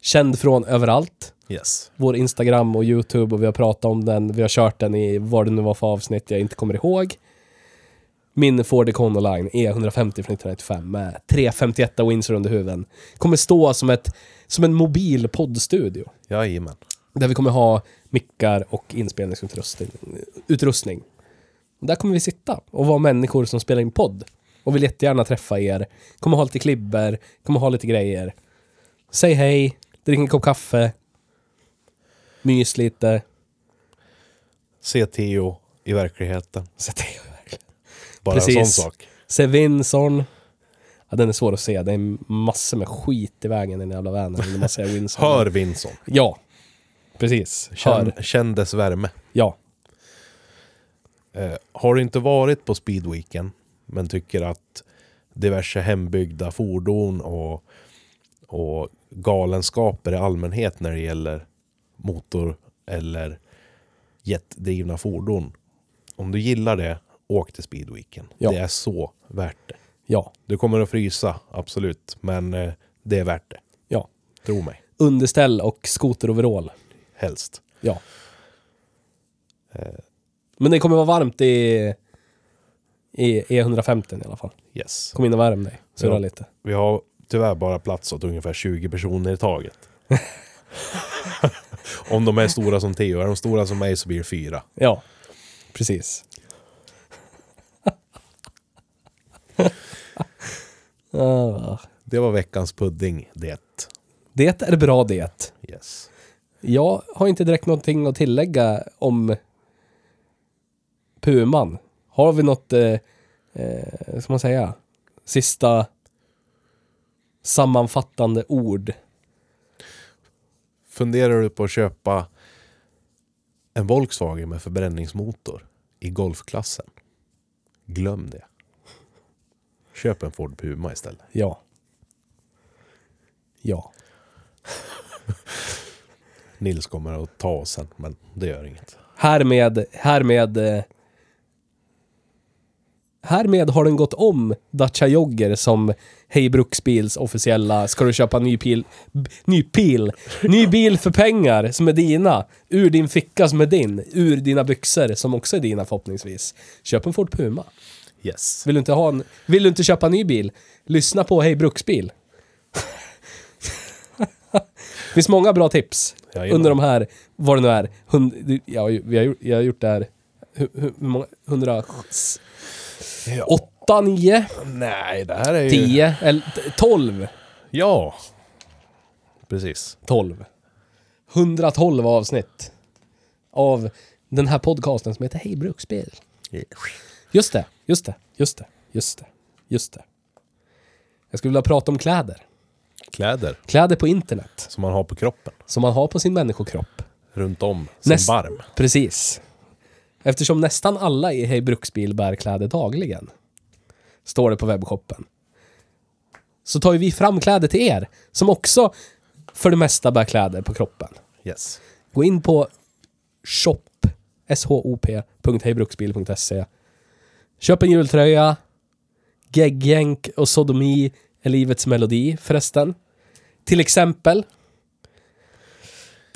Speaker 1: Känd från överallt.
Speaker 2: Yes.
Speaker 1: Vår Instagram och YouTube och vi har pratat om den. Vi har kört den i vad det nu var för avsnitt jag inte kommer ihåg. Min Ford Econoline E150 från 1995 med 351 Windsor under huven. Kommer stå som, ett, som en mobil poddstudio.
Speaker 2: Jajamän.
Speaker 1: Där vi kommer ha mickar och inspelningsutrustning. Utrustning. Där kommer vi sitta och vara människor som spelar in podd. Och vill jättegärna träffa er. Kommer ha lite klibber, kommer ha lite grejer. Säg hej, drick en kopp kaffe. Mys lite.
Speaker 2: Se Theo i verkligheten.
Speaker 1: Så det är verkligen-
Speaker 2: Bara
Speaker 1: Precis.
Speaker 2: en sån sak.
Speaker 1: Sevinson. Ja, den är svår att se. Det är massor med skit i vägen i den jävla vänern. När man säger Winson.
Speaker 2: Hör Vinson.
Speaker 1: Ja. Precis. Hör.
Speaker 2: Känn, känn dess värme.
Speaker 1: Ja.
Speaker 2: Eh, har du inte varit på Speedweeken men tycker att diverse hembyggda fordon och, och galenskaper i allmänhet när det gäller motor eller jetdrivna fordon. Om du gillar det, åk till Speedweeken.
Speaker 1: Ja.
Speaker 2: Det är så värt det.
Speaker 1: Ja.
Speaker 2: Du kommer att frysa, absolut, men eh, det är värt det.
Speaker 1: Ja.
Speaker 2: Tro mig,
Speaker 1: Underställ och skoteroverall.
Speaker 2: helst.
Speaker 1: Ja. Eh, Men det kommer vara varmt i, i E150 i alla fall.
Speaker 2: Yes.
Speaker 1: Kom in och värm dig. Surra
Speaker 2: Ja.
Speaker 1: lite.
Speaker 2: Vi har tyvärr bara plats åt ungefär 20 personer i taget. Om de är stora som Theo, är de stora som mig så blir det fyra.
Speaker 1: Ja, precis. Ah,
Speaker 2: Det var veckans pudding, det.
Speaker 1: det är bra det.
Speaker 2: Yes.
Speaker 1: Jag har inte direkt någonting att tillägga om Puman. Har vi något, eh, eh, ska man säga, sista sammanfattande ord?
Speaker 2: Funderar du på att köpa en Volkswagen med förbränningsmotor i golfklassen? Glöm det. Köp en Ford Puma istället.
Speaker 1: Ja. Ja.
Speaker 2: Nils kommer att ta oss sen, men det gör inget.
Speaker 1: Härmed, härmed... eh, Härmed har den gått om Dacia Jogger som Hej Bruksbils officiella Ska du köpa ny pil... b- Ny pil? Ny bil för pengar som är dina. Ur din ficka som är din. Ur dina byxor som också är dina förhoppningsvis. Köp en Ford Puma.
Speaker 2: Yes.
Speaker 1: Vill du inte, ha en, vill du inte köpa en ny bil? Lyssna på Hej Bruksbil. Det finns många bra tips
Speaker 2: Jajamän.
Speaker 1: under de här, vad det nu är, hund, jag, har ju- vi har, gjort- jag har gjort det här, hur, hur många, 108,
Speaker 2: Ja.
Speaker 1: 9,
Speaker 2: Nej, det här är ju...
Speaker 1: 10, eller t- 12,
Speaker 2: Ja. Precis.
Speaker 1: 12. 112 avsnitt av den här podcasten som heter Hej Bruksbil. Just det, just det, just det, just det, just det. Jag skulle vilja prata om kläder.
Speaker 2: Kläder
Speaker 1: Kläder på internet,
Speaker 2: som man har på kroppen.
Speaker 1: som man har på sin människokropp.
Speaker 2: Runt om, som
Speaker 1: Näst-
Speaker 2: barm.
Speaker 1: Precis. Eftersom nästan alla i Hej Bruksbil bär kläder dagligen, står det på webbshoppen, så tar ju vi fram kläder till er, som också för det mesta bär kläder på kroppen.
Speaker 2: Yes.
Speaker 1: Gå in på shop, shop.hejbruksbil.se Köp en jultröja, geggjänk och sodomi är livets melodi förresten. Till exempel.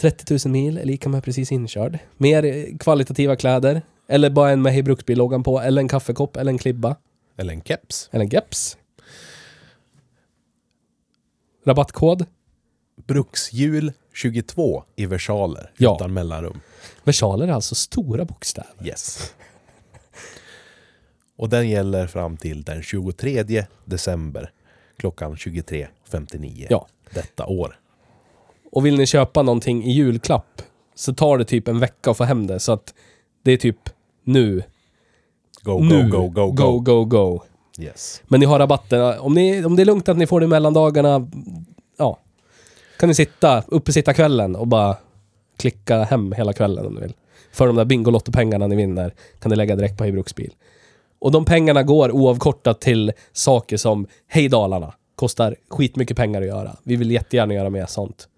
Speaker 1: 30 000 mil är lika med precis inkörd. Mer eh, kvalitativa kläder. Eller bara en med Hej Bruksbil-loggan på. Eller en kaffekopp. Eller en klibba.
Speaker 2: Eller en keps.
Speaker 1: Eller en keps. Rabattkod.
Speaker 2: Bruksjul 22 i versaler
Speaker 1: Ja.
Speaker 2: utan mellanrum.
Speaker 1: Versaler är alltså stora bokstäver.
Speaker 2: Yes. Och den gäller fram till den 23 december klockan 23.59
Speaker 1: Ja.
Speaker 2: detta år.
Speaker 1: Och vill ni köpa någonting i julklapp så tar det typ en vecka att få hem det. Så att det är typ nu.
Speaker 2: Go,
Speaker 1: nu.
Speaker 2: go, go, go, go.
Speaker 1: go, go, go.
Speaker 2: Yes.
Speaker 1: Men ni har rabatter. Om, ni, om det är lugnt att ni får det mellan dagarna, ja. Kan ni sitta, uppe sitta kvällen och bara klicka hem hela kvällen om ni vill. För de där Bingolotto-pengarna ni vinner kan ni lägga direkt på Hej Bruksbil. Och de pengarna går oavkortat till saker som Hej Dalarna. Kostar skitmycket pengar att göra. Vi vill jättegärna göra mer sånt.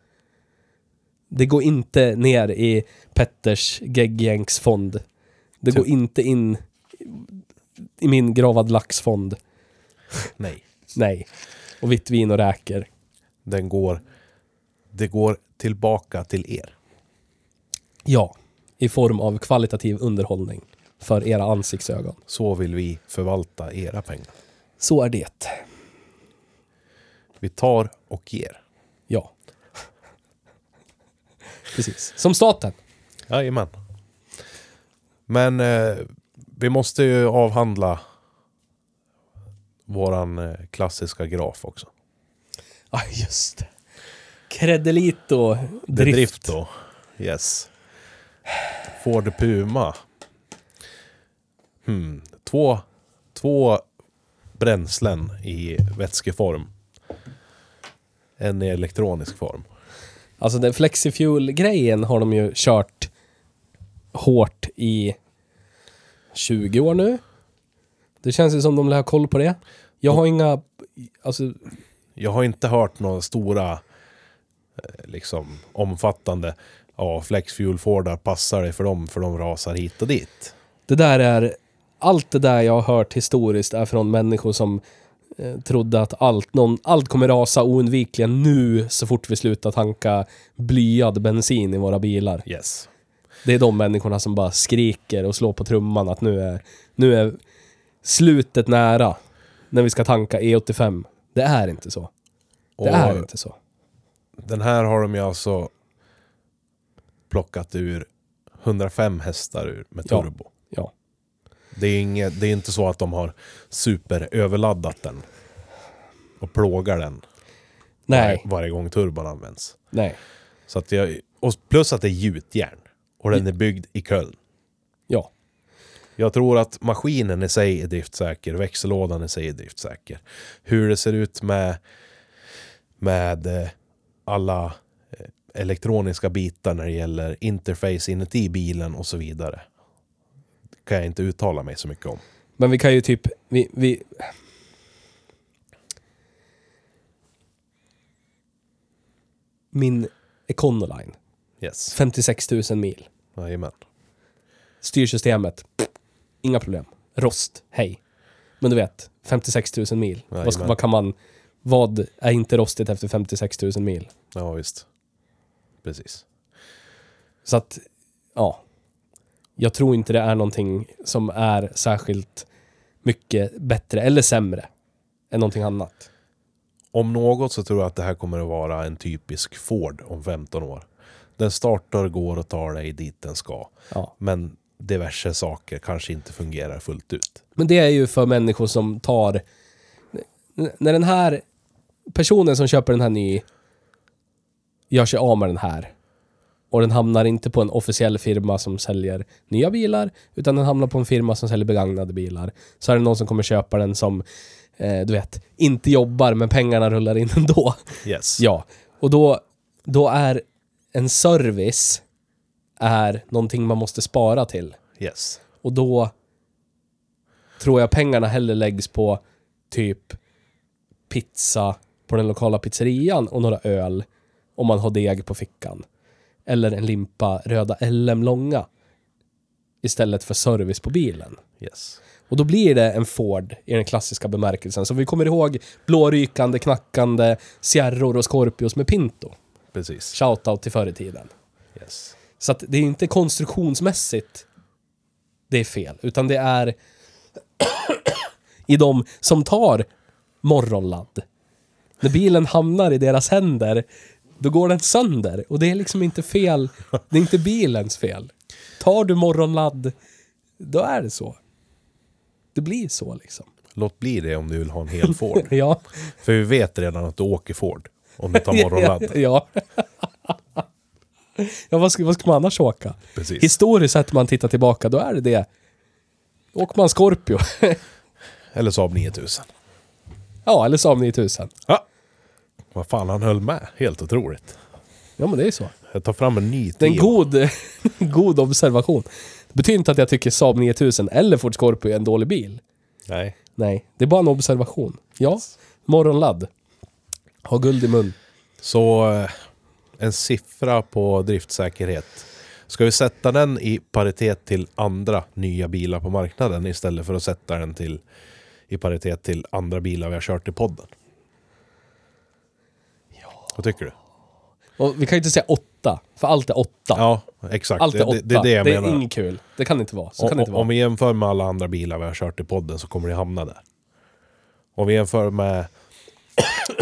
Speaker 1: Det går inte ner i Petters geggjänksfond. Det
Speaker 2: Typ.
Speaker 1: går inte in i min gravad laxfond.
Speaker 2: Nej.
Speaker 1: Nej. Och vitt vin och räkor.
Speaker 2: Den går, det går tillbaka till er.
Speaker 1: Ja. I form av kvalitativ underhållning. För era ansiktsögon.
Speaker 2: Så vill vi förvalta era pengar.
Speaker 1: Så är det.
Speaker 2: Vi tar och ger.
Speaker 1: Ja. Precis. Som staten.
Speaker 2: Jajamän. Men eh, vi måste ju avhandla våran eh, klassiska graf också.
Speaker 1: Ja, just det. Credelito.
Speaker 2: The
Speaker 1: Drift.
Speaker 2: då. Yes. Ford Puma. Hmm. Två, två bränslen i vätskeform. En i elektronisk form.
Speaker 1: Alltså den flexifuel-grejen har de ju kört hårt i 20 år nu. Det känns ju som de lär ha koll på det. Jag har inga... Alltså,
Speaker 2: Jag har inte hört några stora eh, liksom omfattande ja, flexfuel Fordar passar det för dem för de rasar hit och dit.
Speaker 1: Det där är, allt det där jag har hört historiskt är från människor som eh, trodde att allt, någon, allt kommer rasa oundvikligen nu så fort vi slutar tanka blyad bensin i våra bilar.
Speaker 2: Yes.
Speaker 1: Det är de människorna som bara skriker och slår på trumman att nu är, nu är slutet nära när vi ska tanka E85. Det är inte så. Det
Speaker 2: Och
Speaker 1: är inte så.
Speaker 2: Den här har de ju alltså plockat ur 105 hästar ur med
Speaker 1: Ja.
Speaker 2: turbo.
Speaker 1: Ja.
Speaker 2: Det, är inget, det är inte så att de har superöverladdat den och plågar den varje,
Speaker 1: Nej,
Speaker 2: varje gång turbon används.
Speaker 1: nej.
Speaker 2: Så att jag, och plus att det är gjutjärn och den är byggd i Köln.
Speaker 1: Ja.
Speaker 2: Jag tror att maskinen i sig är driftsäker, växellådan i sig är driftsäker. Hur det ser ut med, med eh, alla eh, elektroniska bitar när det gäller interface inuti bilen och så vidare. kan jag inte uttala mig så mycket om.
Speaker 1: Men vi kan ju typ, vi, vi... Min Econoline,
Speaker 2: Yes.
Speaker 1: 56 000 mil.
Speaker 2: Jajamän.
Speaker 1: Styrsystemet, inga problem. Rost, hej. Men du vet, 56 000 mil. Vad, ska,
Speaker 2: Jajamän.
Speaker 1: vad kan man, vad är inte rostigt efter 56 000 mil?
Speaker 2: Ja, visst. Precis.
Speaker 1: Så att, ja. Jag tror inte det är någonting som är särskilt mycket bättre eller sämre än någonting annat.
Speaker 2: Om något så tror jag att det här kommer att vara en typisk Ford om 15 år. Den startar, går och tar dig dit den ska.
Speaker 1: Ja.
Speaker 2: Men diverse saker kanske inte fungerar fullt ut.
Speaker 1: Men det är ju för människor som tar... N- När den här personen som köper den här ny gör sig av med den här och den hamnar inte på en officiell firma som säljer nya bilar utan den hamnar på en firma som säljer begagnade bilar. Så är det någon som kommer köpa den som, eh, du vet, inte jobbar men pengarna rullar in ändå.
Speaker 2: Yes.
Speaker 1: Ja, och då, då är en service är någonting man måste spara till.
Speaker 2: Yes.
Speaker 1: Och då tror jag pengarna hellre läggs på typ pizza på den lokala pizzerian och några öl om man har deg på fickan. Eller en limpa röda LM långa istället för service på bilen.
Speaker 2: Yes.
Speaker 1: Och då blir det en Ford i den klassiska bemärkelsen. Så vi kommer ihåg blårykande, knackande Sierror och Scorpios med Pinto.
Speaker 2: Precis.
Speaker 1: Shoutout till förr i tiden.
Speaker 2: Yes.
Speaker 1: Så att det är inte konstruktionsmässigt det är fel, utan det är i de som tar morgonladd. När bilen hamnar i deras händer, då går den sönder. Och det är liksom inte fel, det är inte bilens fel. Tar du morgonladd, då är det så. Det blir så liksom.
Speaker 2: Låt bli det om du vill ha en hel Ford.
Speaker 1: Ja.
Speaker 2: För vi vet redan att du åker Ford om du tar morgonladd.
Speaker 1: ja. ja, vad ska, vad ska man annars åka?
Speaker 2: Precis.
Speaker 1: Historiskt sett, om man tittar tillbaka, då är det det. Då åker man Scorpio.
Speaker 2: Eller Saab 9000.
Speaker 1: ja, eller Saab 9000.
Speaker 2: Ja. Vad fan, han höll med. Helt otroligt.
Speaker 1: Ja, men det är ju så.
Speaker 2: Jag tar fram en ny
Speaker 1: Det är en
Speaker 2: Teo.
Speaker 1: god, god observation. Det betyder inte att jag tycker Saab 9000 eller Ford Scorpio är en dålig bil.
Speaker 2: Nej.
Speaker 1: Nej, det är bara en observation. Ja, morgonladd. Ha guld i mun.
Speaker 2: Så eh, en siffra på driftsäkerhet. Ska vi sätta den i paritet till andra nya bilar på marknaden istället för att sätta den till, i paritet till andra bilar vi har kört i podden? Ja. Vad tycker du?
Speaker 1: Och vi kan ju inte säga åtta, för allt är åtta.
Speaker 2: Ja, exakt.
Speaker 1: allt är
Speaker 2: det,
Speaker 1: åtta.
Speaker 2: det, det är det jag menar.
Speaker 1: inget kul. Det kan det inte vara. Så kan det inte
Speaker 2: Om,
Speaker 1: vara.
Speaker 2: om vi jämför med alla andra bilar vi har kört i podden så kommer det hamna där. Om vi jämför med,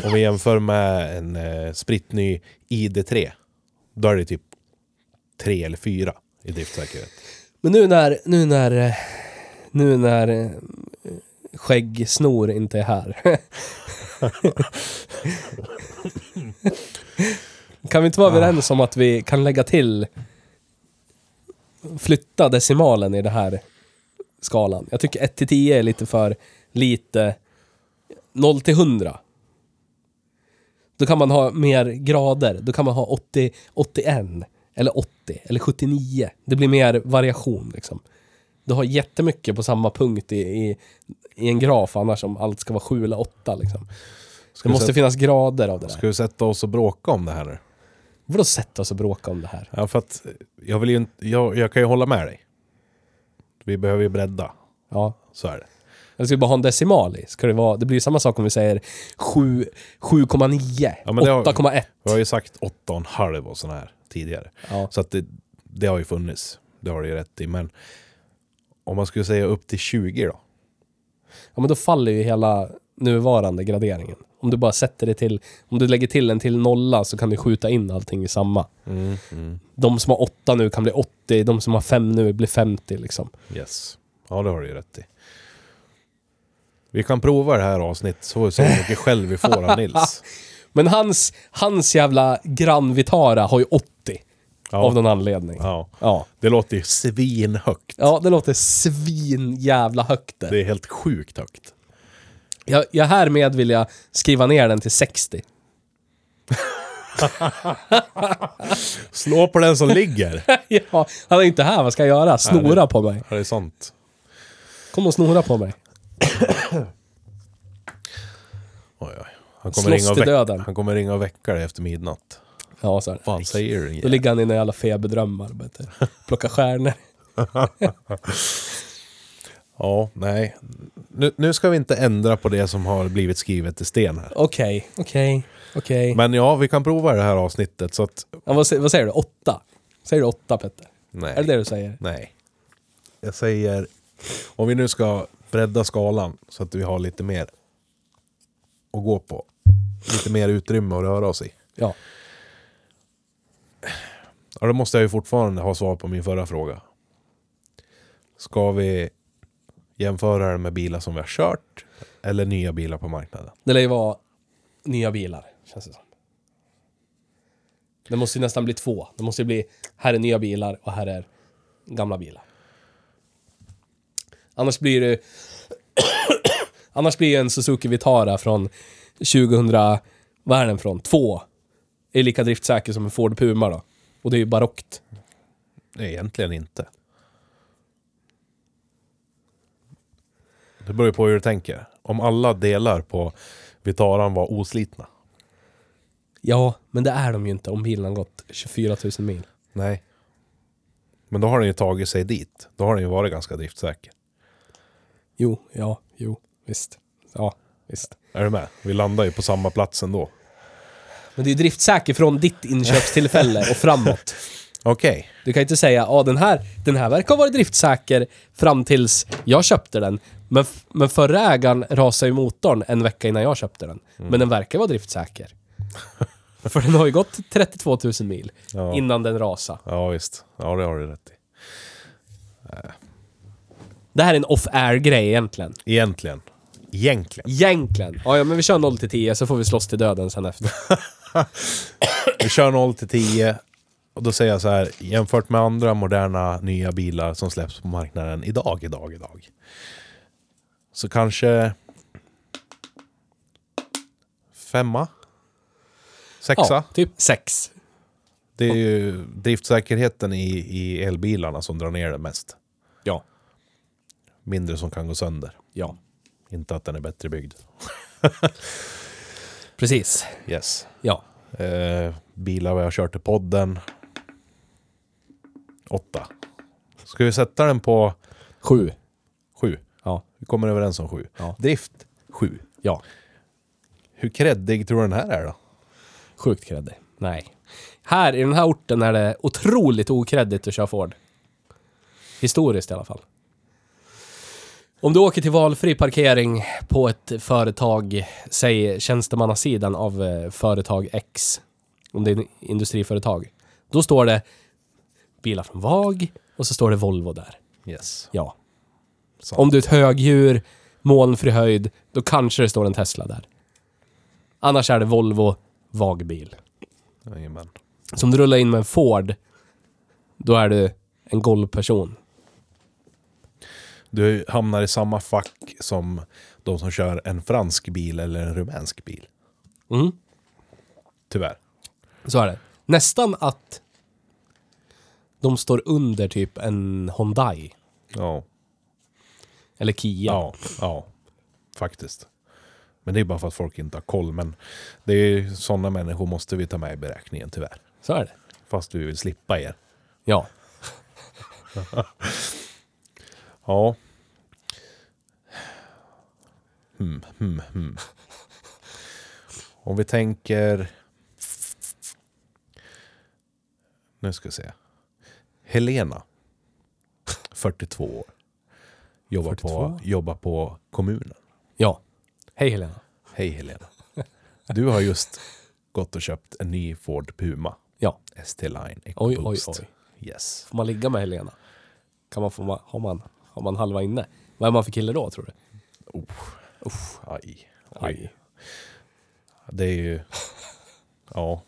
Speaker 2: om vi jämför med en eh, spritny ID3, då är det typ tre eller fyra i driftsäkerhet.
Speaker 1: Men nu när, nu när, eh, nu när eh, skäggsnor inte är här. kan vi inte vara överens om att vi kan lägga till, flytta decimalen i den här skalan? Jag tycker 1 till 10 är lite för lite, 0 till 100. Då kan man ha mer grader, då kan man ha 80, 81, eller 80, eller 79. Det blir mer variation liksom. Du har jättemycket på samma punkt i, i, i en graf annars om allt ska vara 7 eller 8 liksom.
Speaker 2: Ska
Speaker 1: Det
Speaker 2: vi
Speaker 1: måste
Speaker 2: sätta-
Speaker 1: finnas grader av det där.
Speaker 2: Ska vi sätta oss och bråka om det här nu?
Speaker 1: Vadå sätta oss och bråka om det här?
Speaker 2: Ja, för att jag, vill ju, inte- jag, jag kan ju hålla med dig. Vi behöver ju bredda,
Speaker 1: Ja.
Speaker 2: så är det.
Speaker 1: Jag ska bara ha en decimal i. Ska det, vara, det blir ju samma sak om vi säger sju- 7,9,
Speaker 2: Ja, men det har-
Speaker 1: 8,1.
Speaker 2: Vi har ju sagt 8,5 och sådana här tidigare.
Speaker 1: Ja.
Speaker 2: Så att det, det har ju funnits, det har du ju rätt i. Men om man skulle säga upp till 20 då?
Speaker 1: ja, men då faller ju hela nuvarande graderingen. Om du bara sätter det till, om du lägger till en till nolla så kan du skjuta in allting i samma. De som har åtta nu kan bli 80, de som har fem nu blir 50 liksom.
Speaker 2: Yes. Ja, det har du ju rätt i. Vi kan prova det här avsnittet så får vi se hur mycket själv vi får av Nils.
Speaker 1: Men hans, hans jävla Gran Vitara har ju 80 av någon anledning.
Speaker 2: Ja.
Speaker 1: Ja.
Speaker 2: Det låter ju svinhögt.
Speaker 1: Ja, det låter svin jävla högt det.
Speaker 2: Det är helt sjukt högt.
Speaker 1: Jag, jag härmed vill jag skriva ner den till 60.
Speaker 2: Slå på den som ligger.
Speaker 1: ja, han är inte här, vad ska jag göra? Snora på mig.
Speaker 2: Ja, det är sant.
Speaker 1: Kom och snora på mig.
Speaker 2: Oj, oj. Han kommer,
Speaker 1: Slåss
Speaker 2: ringa och
Speaker 1: till
Speaker 2: väcka-
Speaker 1: döden.
Speaker 2: Han kommer ringa och väcka dig efter midnatt.
Speaker 1: Ja, så är det.
Speaker 2: Fan, säger du
Speaker 1: Då
Speaker 2: inget?
Speaker 1: ligger han i några jävla feberdrömmar. vet du. Plocka stjärnor.
Speaker 2: Ja, nej. Nu, nu ska vi inte ändra på det som har blivit skrivet i sten här.
Speaker 1: Okej, okej, okej.
Speaker 2: Men ja, vi kan prova det här avsnittet så att...
Speaker 1: Ja, vad, sä- vad säger du? Åtta? Säger du åtta, Petter?
Speaker 2: Nej.
Speaker 1: Är det det du säger?
Speaker 2: Nej. Jag säger... Om vi nu ska bredda skalan så att vi har lite mer att gå på. Lite mer utrymme att röra oss i.
Speaker 1: Ja.
Speaker 2: Ja, då måste jag ju fortfarande ha svar på min förra fråga. Ska vi jämföra det med bilar som vi har kört eller nya bilar på marknaden?
Speaker 1: Det lär ju vara nya bilar, känns det som. Det måste ju nästan bli två. Det måste ju bli, här är nya bilar och här är gamla bilar. Annars blir det... Annars blir en Suzuki Vitara från 2000... Vad är den från? Två. Är lika driftsäker som en Ford Puma då. Och det är ju barockt.
Speaker 2: Nej, egentligen inte. Det beror ju på hur du tänker. Om alla delar på Vitaran var oslitna.
Speaker 1: Ja, men det är de ju inte om bilen har gått 24 000 mil.
Speaker 2: Nej. Men då har den ju tagit sig dit. Då har den ju varit ganska driftsäker.
Speaker 1: Jo, ja, jo, visst. Ja, visst.
Speaker 2: Är du med? Vi landar ju på samma plats ändå.
Speaker 1: Men det är ju driftsäker från ditt inköpstillfälle och framåt.
Speaker 2: Okej.
Speaker 1: Du kan ju inte säga att den här, den här verkar ha varit driftsäker fram tills jag köpte den. Men, f- men förra ägaren rasade ju motorn en vecka innan jag köpte den. Men den verkar vara driftsäker. För den har ju gått 32 000 mil
Speaker 2: Ja.
Speaker 1: innan den rasade.
Speaker 2: Ja, visst. Ja, det har du rätt i.
Speaker 1: Det här är en off-air grej egentligen.
Speaker 2: Egentligen. Egentligen.
Speaker 1: Egentligen. Ja, ja, men vi kör 0 till 10 så får vi slåss till döden sen efter.
Speaker 2: Vi kör 0 till 10. Och då säger jag så här, jämfört med andra moderna nya bilar som släpps på marknaden idag, idag, idag. Så kanske... Femma? Sexa?
Speaker 1: Ja, typ 6.
Speaker 2: Det är ju driftsäkerheten i, i elbilarna som drar ner det mest.
Speaker 1: Ja.
Speaker 2: Mindre som kan gå sönder.
Speaker 1: Ja.
Speaker 2: Inte att den är bättre byggd.
Speaker 1: Precis.
Speaker 2: Yes.
Speaker 1: Ja.
Speaker 2: Eh, bilar vi har kört i podden. Åtta. Ska vi sätta den på
Speaker 1: 7.
Speaker 2: sju?
Speaker 1: Ja.
Speaker 2: Vi kommer överens om sju.
Speaker 1: Ja.
Speaker 2: Drift, sju.
Speaker 1: Ja.
Speaker 2: Hur kreddig tror du den här är då?
Speaker 1: Sjukt kreddig. Nej. Här i den här orten är det otroligt okreddigt att köra Ford. Historiskt i alla fall. Om du åker till valfri parkering på ett företag, säg tjänstemannasidan av eh, företag X, om det är en industriföretag, då står det bilar från VAG och så står det Volvo där.
Speaker 2: Yes.
Speaker 1: Ja.
Speaker 2: Sant.
Speaker 1: Om du är ett högdjur, molnfri höjd, då kanske det står en Tesla där. Annars är det Volvo, VAG-bil.
Speaker 2: Jajamän.
Speaker 1: Så om du rullar in med en Ford, då är du en golvperson.
Speaker 2: Du hamnar i samma fack som de som kör en fransk bil eller en rumänsk bil.
Speaker 1: Mm.
Speaker 2: Tyvärr.
Speaker 1: Så är det. Nästan att de står under typ en Hyundai
Speaker 2: Ja.
Speaker 1: eller Kia.
Speaker 2: Ja, ja, faktiskt. Men det är bara för att folk inte har koll. Men det är ju sådana människor måste vi ta med i beräkningen tyvärr.
Speaker 1: Så är det.
Speaker 2: Fast vi vill slippa er.
Speaker 1: Ja.
Speaker 2: Ja. Hmm, hmm, hmm. Om vi tänker... Nu ska vi se. Helena. 42 år. Jobbar, På,
Speaker 1: 42?
Speaker 2: jobbar på kommunen.
Speaker 1: Ja. Hej Helena.
Speaker 2: Hej Helena. Du har just gått och köpt en ny Ford Puma
Speaker 1: Ja.
Speaker 2: ST-Line
Speaker 1: Oj, oj,
Speaker 2: EcoBoost.
Speaker 1: oj.
Speaker 2: Yes.
Speaker 1: Får man ligga med Helena? Kan man få, har man, har man halva inne? Vad är man för kille då tror du?
Speaker 2: Aj.
Speaker 1: Aj.
Speaker 2: Det är ju... Ja.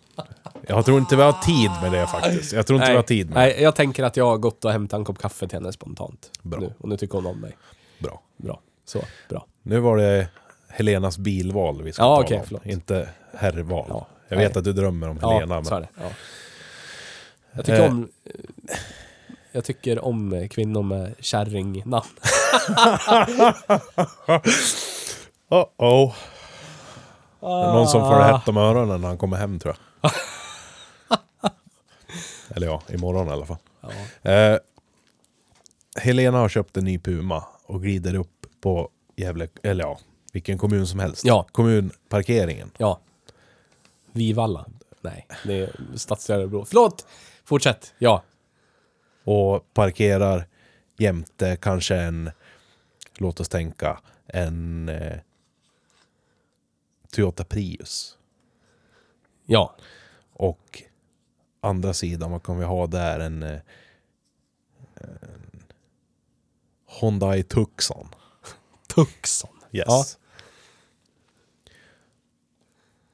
Speaker 2: Jag tror inte vi har tid med det faktiskt. Jag tror inte vi har tid med
Speaker 1: Nej, jag tänker att jag har gått och hämtat en kopp kaffe till henne spontant.
Speaker 2: Bra.
Speaker 1: Nu, och nu tycker hon om mig.
Speaker 2: det. Bra.
Speaker 1: Bra. Så, bra.
Speaker 2: Nu var det Helenas bilval vi ska
Speaker 1: Ja,
Speaker 2: tala
Speaker 1: okej,
Speaker 2: om.
Speaker 1: förlåt.
Speaker 2: Inte herrval.
Speaker 1: Ja,
Speaker 2: jag
Speaker 1: nej.
Speaker 2: vet att du drömmer om
Speaker 1: Ja,
Speaker 2: Helena.
Speaker 1: så är
Speaker 2: men
Speaker 1: det. Ja. Jag tycker
Speaker 2: Eh.
Speaker 1: om... eh, Jag tycker om eh, kvinnor med kärringnamn.
Speaker 2: Uh-oh. Det är någon som får
Speaker 1: Ah.
Speaker 2: hett om öronen när han kommer hem tror jag. eller ja, imorgon i alla fall. Eh, Helena har köpt en ny Puma och glider upp på Gävle, eller ja, vilken kommun som helst.
Speaker 1: Ja.
Speaker 2: Kommunparkeringen.
Speaker 1: Ja. Vivalla. Nej, det är stadsdel Örebro. Förlåt! Fortsätt. Ja.
Speaker 2: Och parkerar jämte kanske en, låt oss tänka, en eh, Toyota Prius.
Speaker 1: Ja.
Speaker 2: Och andra sidan, vad kan vi ha där? En, eh, en Hyundai Tucson.
Speaker 1: Tuxon.
Speaker 2: Yes.
Speaker 1: Ja.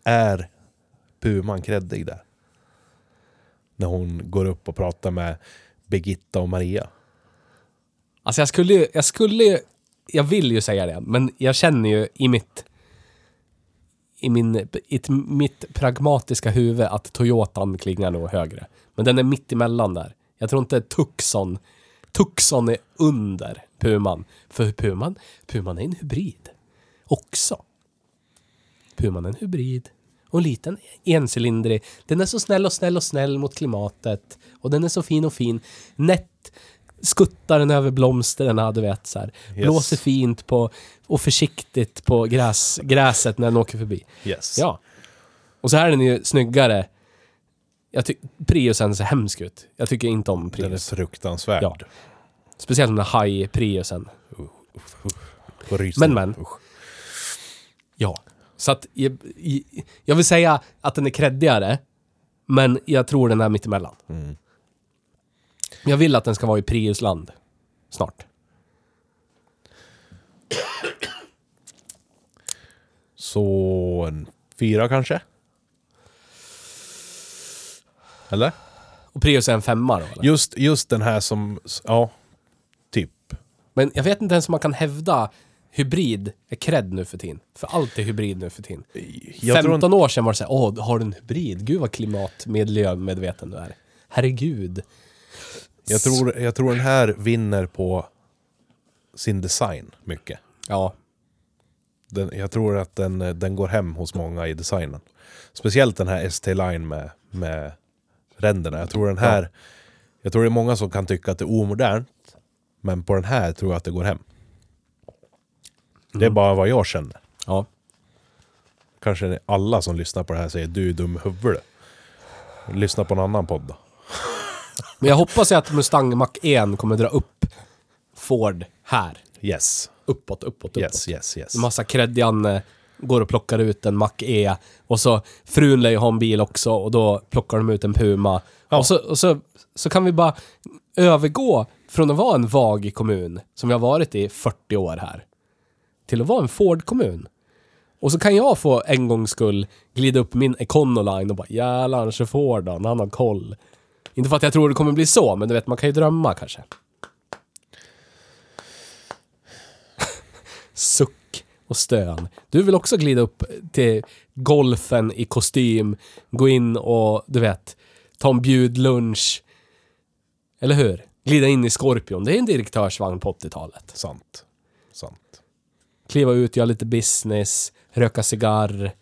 Speaker 2: Är Puman kreddig där? När hon går upp och pratar med Birgitta och Maria.
Speaker 1: Alltså jag skulle ju, jag skulle ju, jag vill ju säga det, men jag känner ju i mitt, i min, i t- mitt pragmatiska huvud att Toyotan klingar nog högre. Men den är mitt emellan där. Jag tror inte Tucson, Tucson är under Puman. För Puman, Puman är en hybrid. Också. Puman är en hybrid. Och en liten encylindrig. Den är så snäll och snäll och snäll mot klimatet. Och den är så fin och fin. Nätt skuttar den över blomsterna, du vet så här. Blåser fint på och försiktigt på gräs, gräset när den åker förbi.
Speaker 2: Yes.
Speaker 1: Ja. Och så här är den ju snyggare Jag ty- Priusen ser hemsk ut. Jag tycker inte om
Speaker 2: Den är
Speaker 1: Prius.
Speaker 2: fruktansvärd.
Speaker 1: Ja. Speciellt den där haj-Priusen.
Speaker 2: Och ryser.
Speaker 1: Men, men.
Speaker 2: Usch.
Speaker 1: Ja. Så att jag, i- jag vill säga att den är kreddigare, men jag tror den är mittemellan.
Speaker 2: Mm.
Speaker 1: Jag vill att den ska vara i Priusland snart.
Speaker 2: Så en fyra kanske? Eller?
Speaker 1: Och Prius är en femma då, eller?
Speaker 2: Just, just den här som, ja, typ.
Speaker 1: Men jag vet inte ens om man kan hävda hybrid är cred nu för tiden. För allt är hybrid nu för tiden.
Speaker 2: Jag tror
Speaker 1: 15
Speaker 2: inte,
Speaker 1: år sedan var det såhär, åh, har du en hybrid? Gud vad klimatmiljömedveten du är. Herregud.
Speaker 2: jag, tror, jag tror den här vinner på sin design mycket.
Speaker 1: Ja.
Speaker 2: Den, jag tror att den, eh, den går hem hos många i designen. Speciellt den här ST-line med, med ränderna. Jag tror den här... Jag tror det är många som kan tycka att det är omodernt. Men på den här tror jag att det går hem. Det är bara vad jag känner.
Speaker 1: Ja.
Speaker 2: Kanske det är alla som lyssnar på det här säger du är dum i huvudet. Lyssna på en annan podd då.
Speaker 1: Men jag hoppas ju att Mustang Mach 1 kommer dra upp Ford här.
Speaker 2: Yes.
Speaker 1: Uppåt, uppåt, uppåt.
Speaker 2: Yes, yes, yes.
Speaker 1: Massa kreddian eh, går och plockar ut en Mac E. Och så frun lär ju ha en bil också och då plockar de ut en Puma. Och, så, och så, så kan vi bara övergå från att vara en vag kommun, som vi har varit i 40 år här, till att vara en Ford-kommun. Och så kan jag få en gångs skull glida upp min Econoline och bara jävlar så Ford då, en annan koll. Inte för att jag tror det kommer bli så, men du vet man kan ju drömma kanske. suck och stön. Du vill också glida upp till golfen i kostym, gå in och, du vet, ta en bjudlunch. Eller hur? Glida in i Scorpion. Det är en direktörsvagn på 80-talet.
Speaker 2: Sant. Sant.
Speaker 1: Kliva ut, göra lite business, röka cigarr.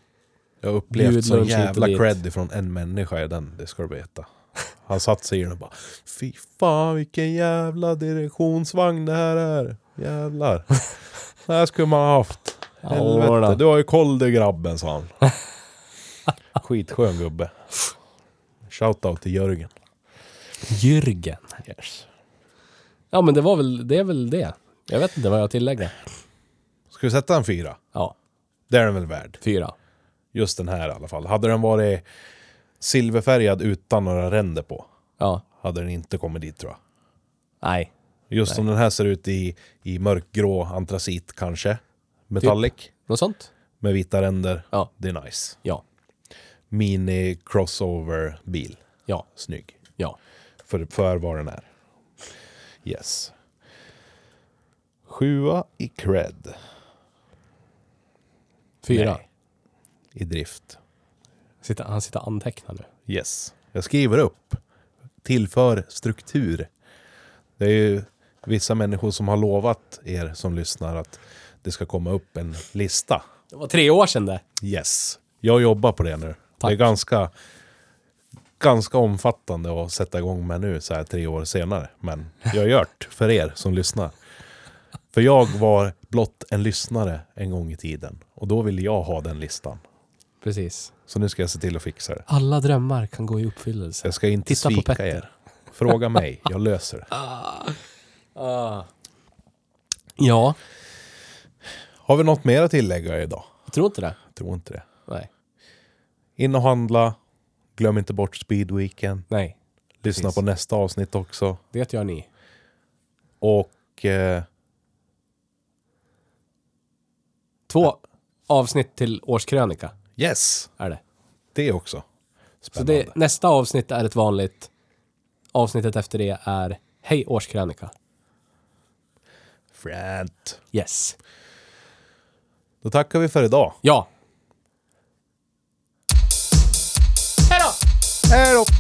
Speaker 2: Jag har
Speaker 1: Bjud
Speaker 2: upplevt sån
Speaker 1: lunch hit och
Speaker 2: jävla
Speaker 1: dit.
Speaker 2: cred ifrån en människa i den, det ska du veta. Han satt sig i den och bara Fy fan vilken jävla direktionsvagn det här är. Jävlar. Det här skulle man ha haft.
Speaker 1: Ja, då.
Speaker 2: Helvete, du har ju koll du grabben sa han. Skitskön gubbe. Shoutout till Jörgen.
Speaker 1: Jürgen.
Speaker 2: Yes.
Speaker 1: Ja, men det var väl, det är väl det. Jag vet inte vad jag tillägger.
Speaker 2: Ska vi sätta en fyra?
Speaker 1: Ja,
Speaker 2: Det är den väl värd.
Speaker 1: fyra.
Speaker 2: Just den här i alla fall. Hade den varit silverfärgad utan några ränder på
Speaker 1: Ja,
Speaker 2: hade den inte kommit dit tror jag.
Speaker 1: nej.
Speaker 2: Just som den här ser ut i, i mörkgrå antracit kanske. Metallic
Speaker 1: Något sånt?
Speaker 2: med vita ränder.
Speaker 1: Ja.
Speaker 2: Det är nice.
Speaker 1: Ja,
Speaker 2: Mini crossover bil.
Speaker 1: ja,
Speaker 2: Snygg.
Speaker 1: ja.
Speaker 2: För, för vad den är. Yes. Sjua i cred.
Speaker 1: Fyra.
Speaker 2: Nej. I drift.
Speaker 1: Sitter, han sitter och antecknar nu.
Speaker 2: Yes. Jag skriver upp. Tillför struktur. Det är ju vissa människor som har lovat er som lyssnar att det ska komma upp en lista.
Speaker 1: Det var tre år sedan det.
Speaker 2: Yes. Jag jobbar på det nu.
Speaker 1: Tack.
Speaker 2: Det är ganska, ganska omfattande att sätta igång med nu så här tre år senare. Men jag gör det för er som lyssnar. För jag var blott en lyssnare en gång i tiden. Och då ville jag ha den listan.
Speaker 1: Precis.
Speaker 2: Så nu ska jag se till att fixa det.
Speaker 1: Alla drömmar kan gå i uppfyllelse.
Speaker 2: Jag ska inte
Speaker 1: Titta på Petter.
Speaker 2: svika er. Fråga mig, jag löser det.
Speaker 1: Ah. Ja,
Speaker 2: Har vi något mer att tillägga idag?
Speaker 1: jag tror inte det.
Speaker 2: Jag tror inte det.
Speaker 1: Nej.
Speaker 2: In och handla. Glöm inte bort speedweeken.
Speaker 1: Nej,
Speaker 2: Lyssna
Speaker 1: Precis.
Speaker 2: på nästa avsnitt också.
Speaker 1: det gör ni.
Speaker 2: Och... Eh,
Speaker 1: Två avsnitt till årskrönika
Speaker 2: yes!
Speaker 1: är det.
Speaker 2: Det också.
Speaker 1: Så
Speaker 2: Spännande.
Speaker 1: det, nästa avsnitt är ett vanligt. Avsnittet efter det är Hej årskrönika.
Speaker 2: Fränt.
Speaker 1: Yes.
Speaker 2: Då tackar vi för idag.
Speaker 1: Ja. Hej då!
Speaker 2: Hej då!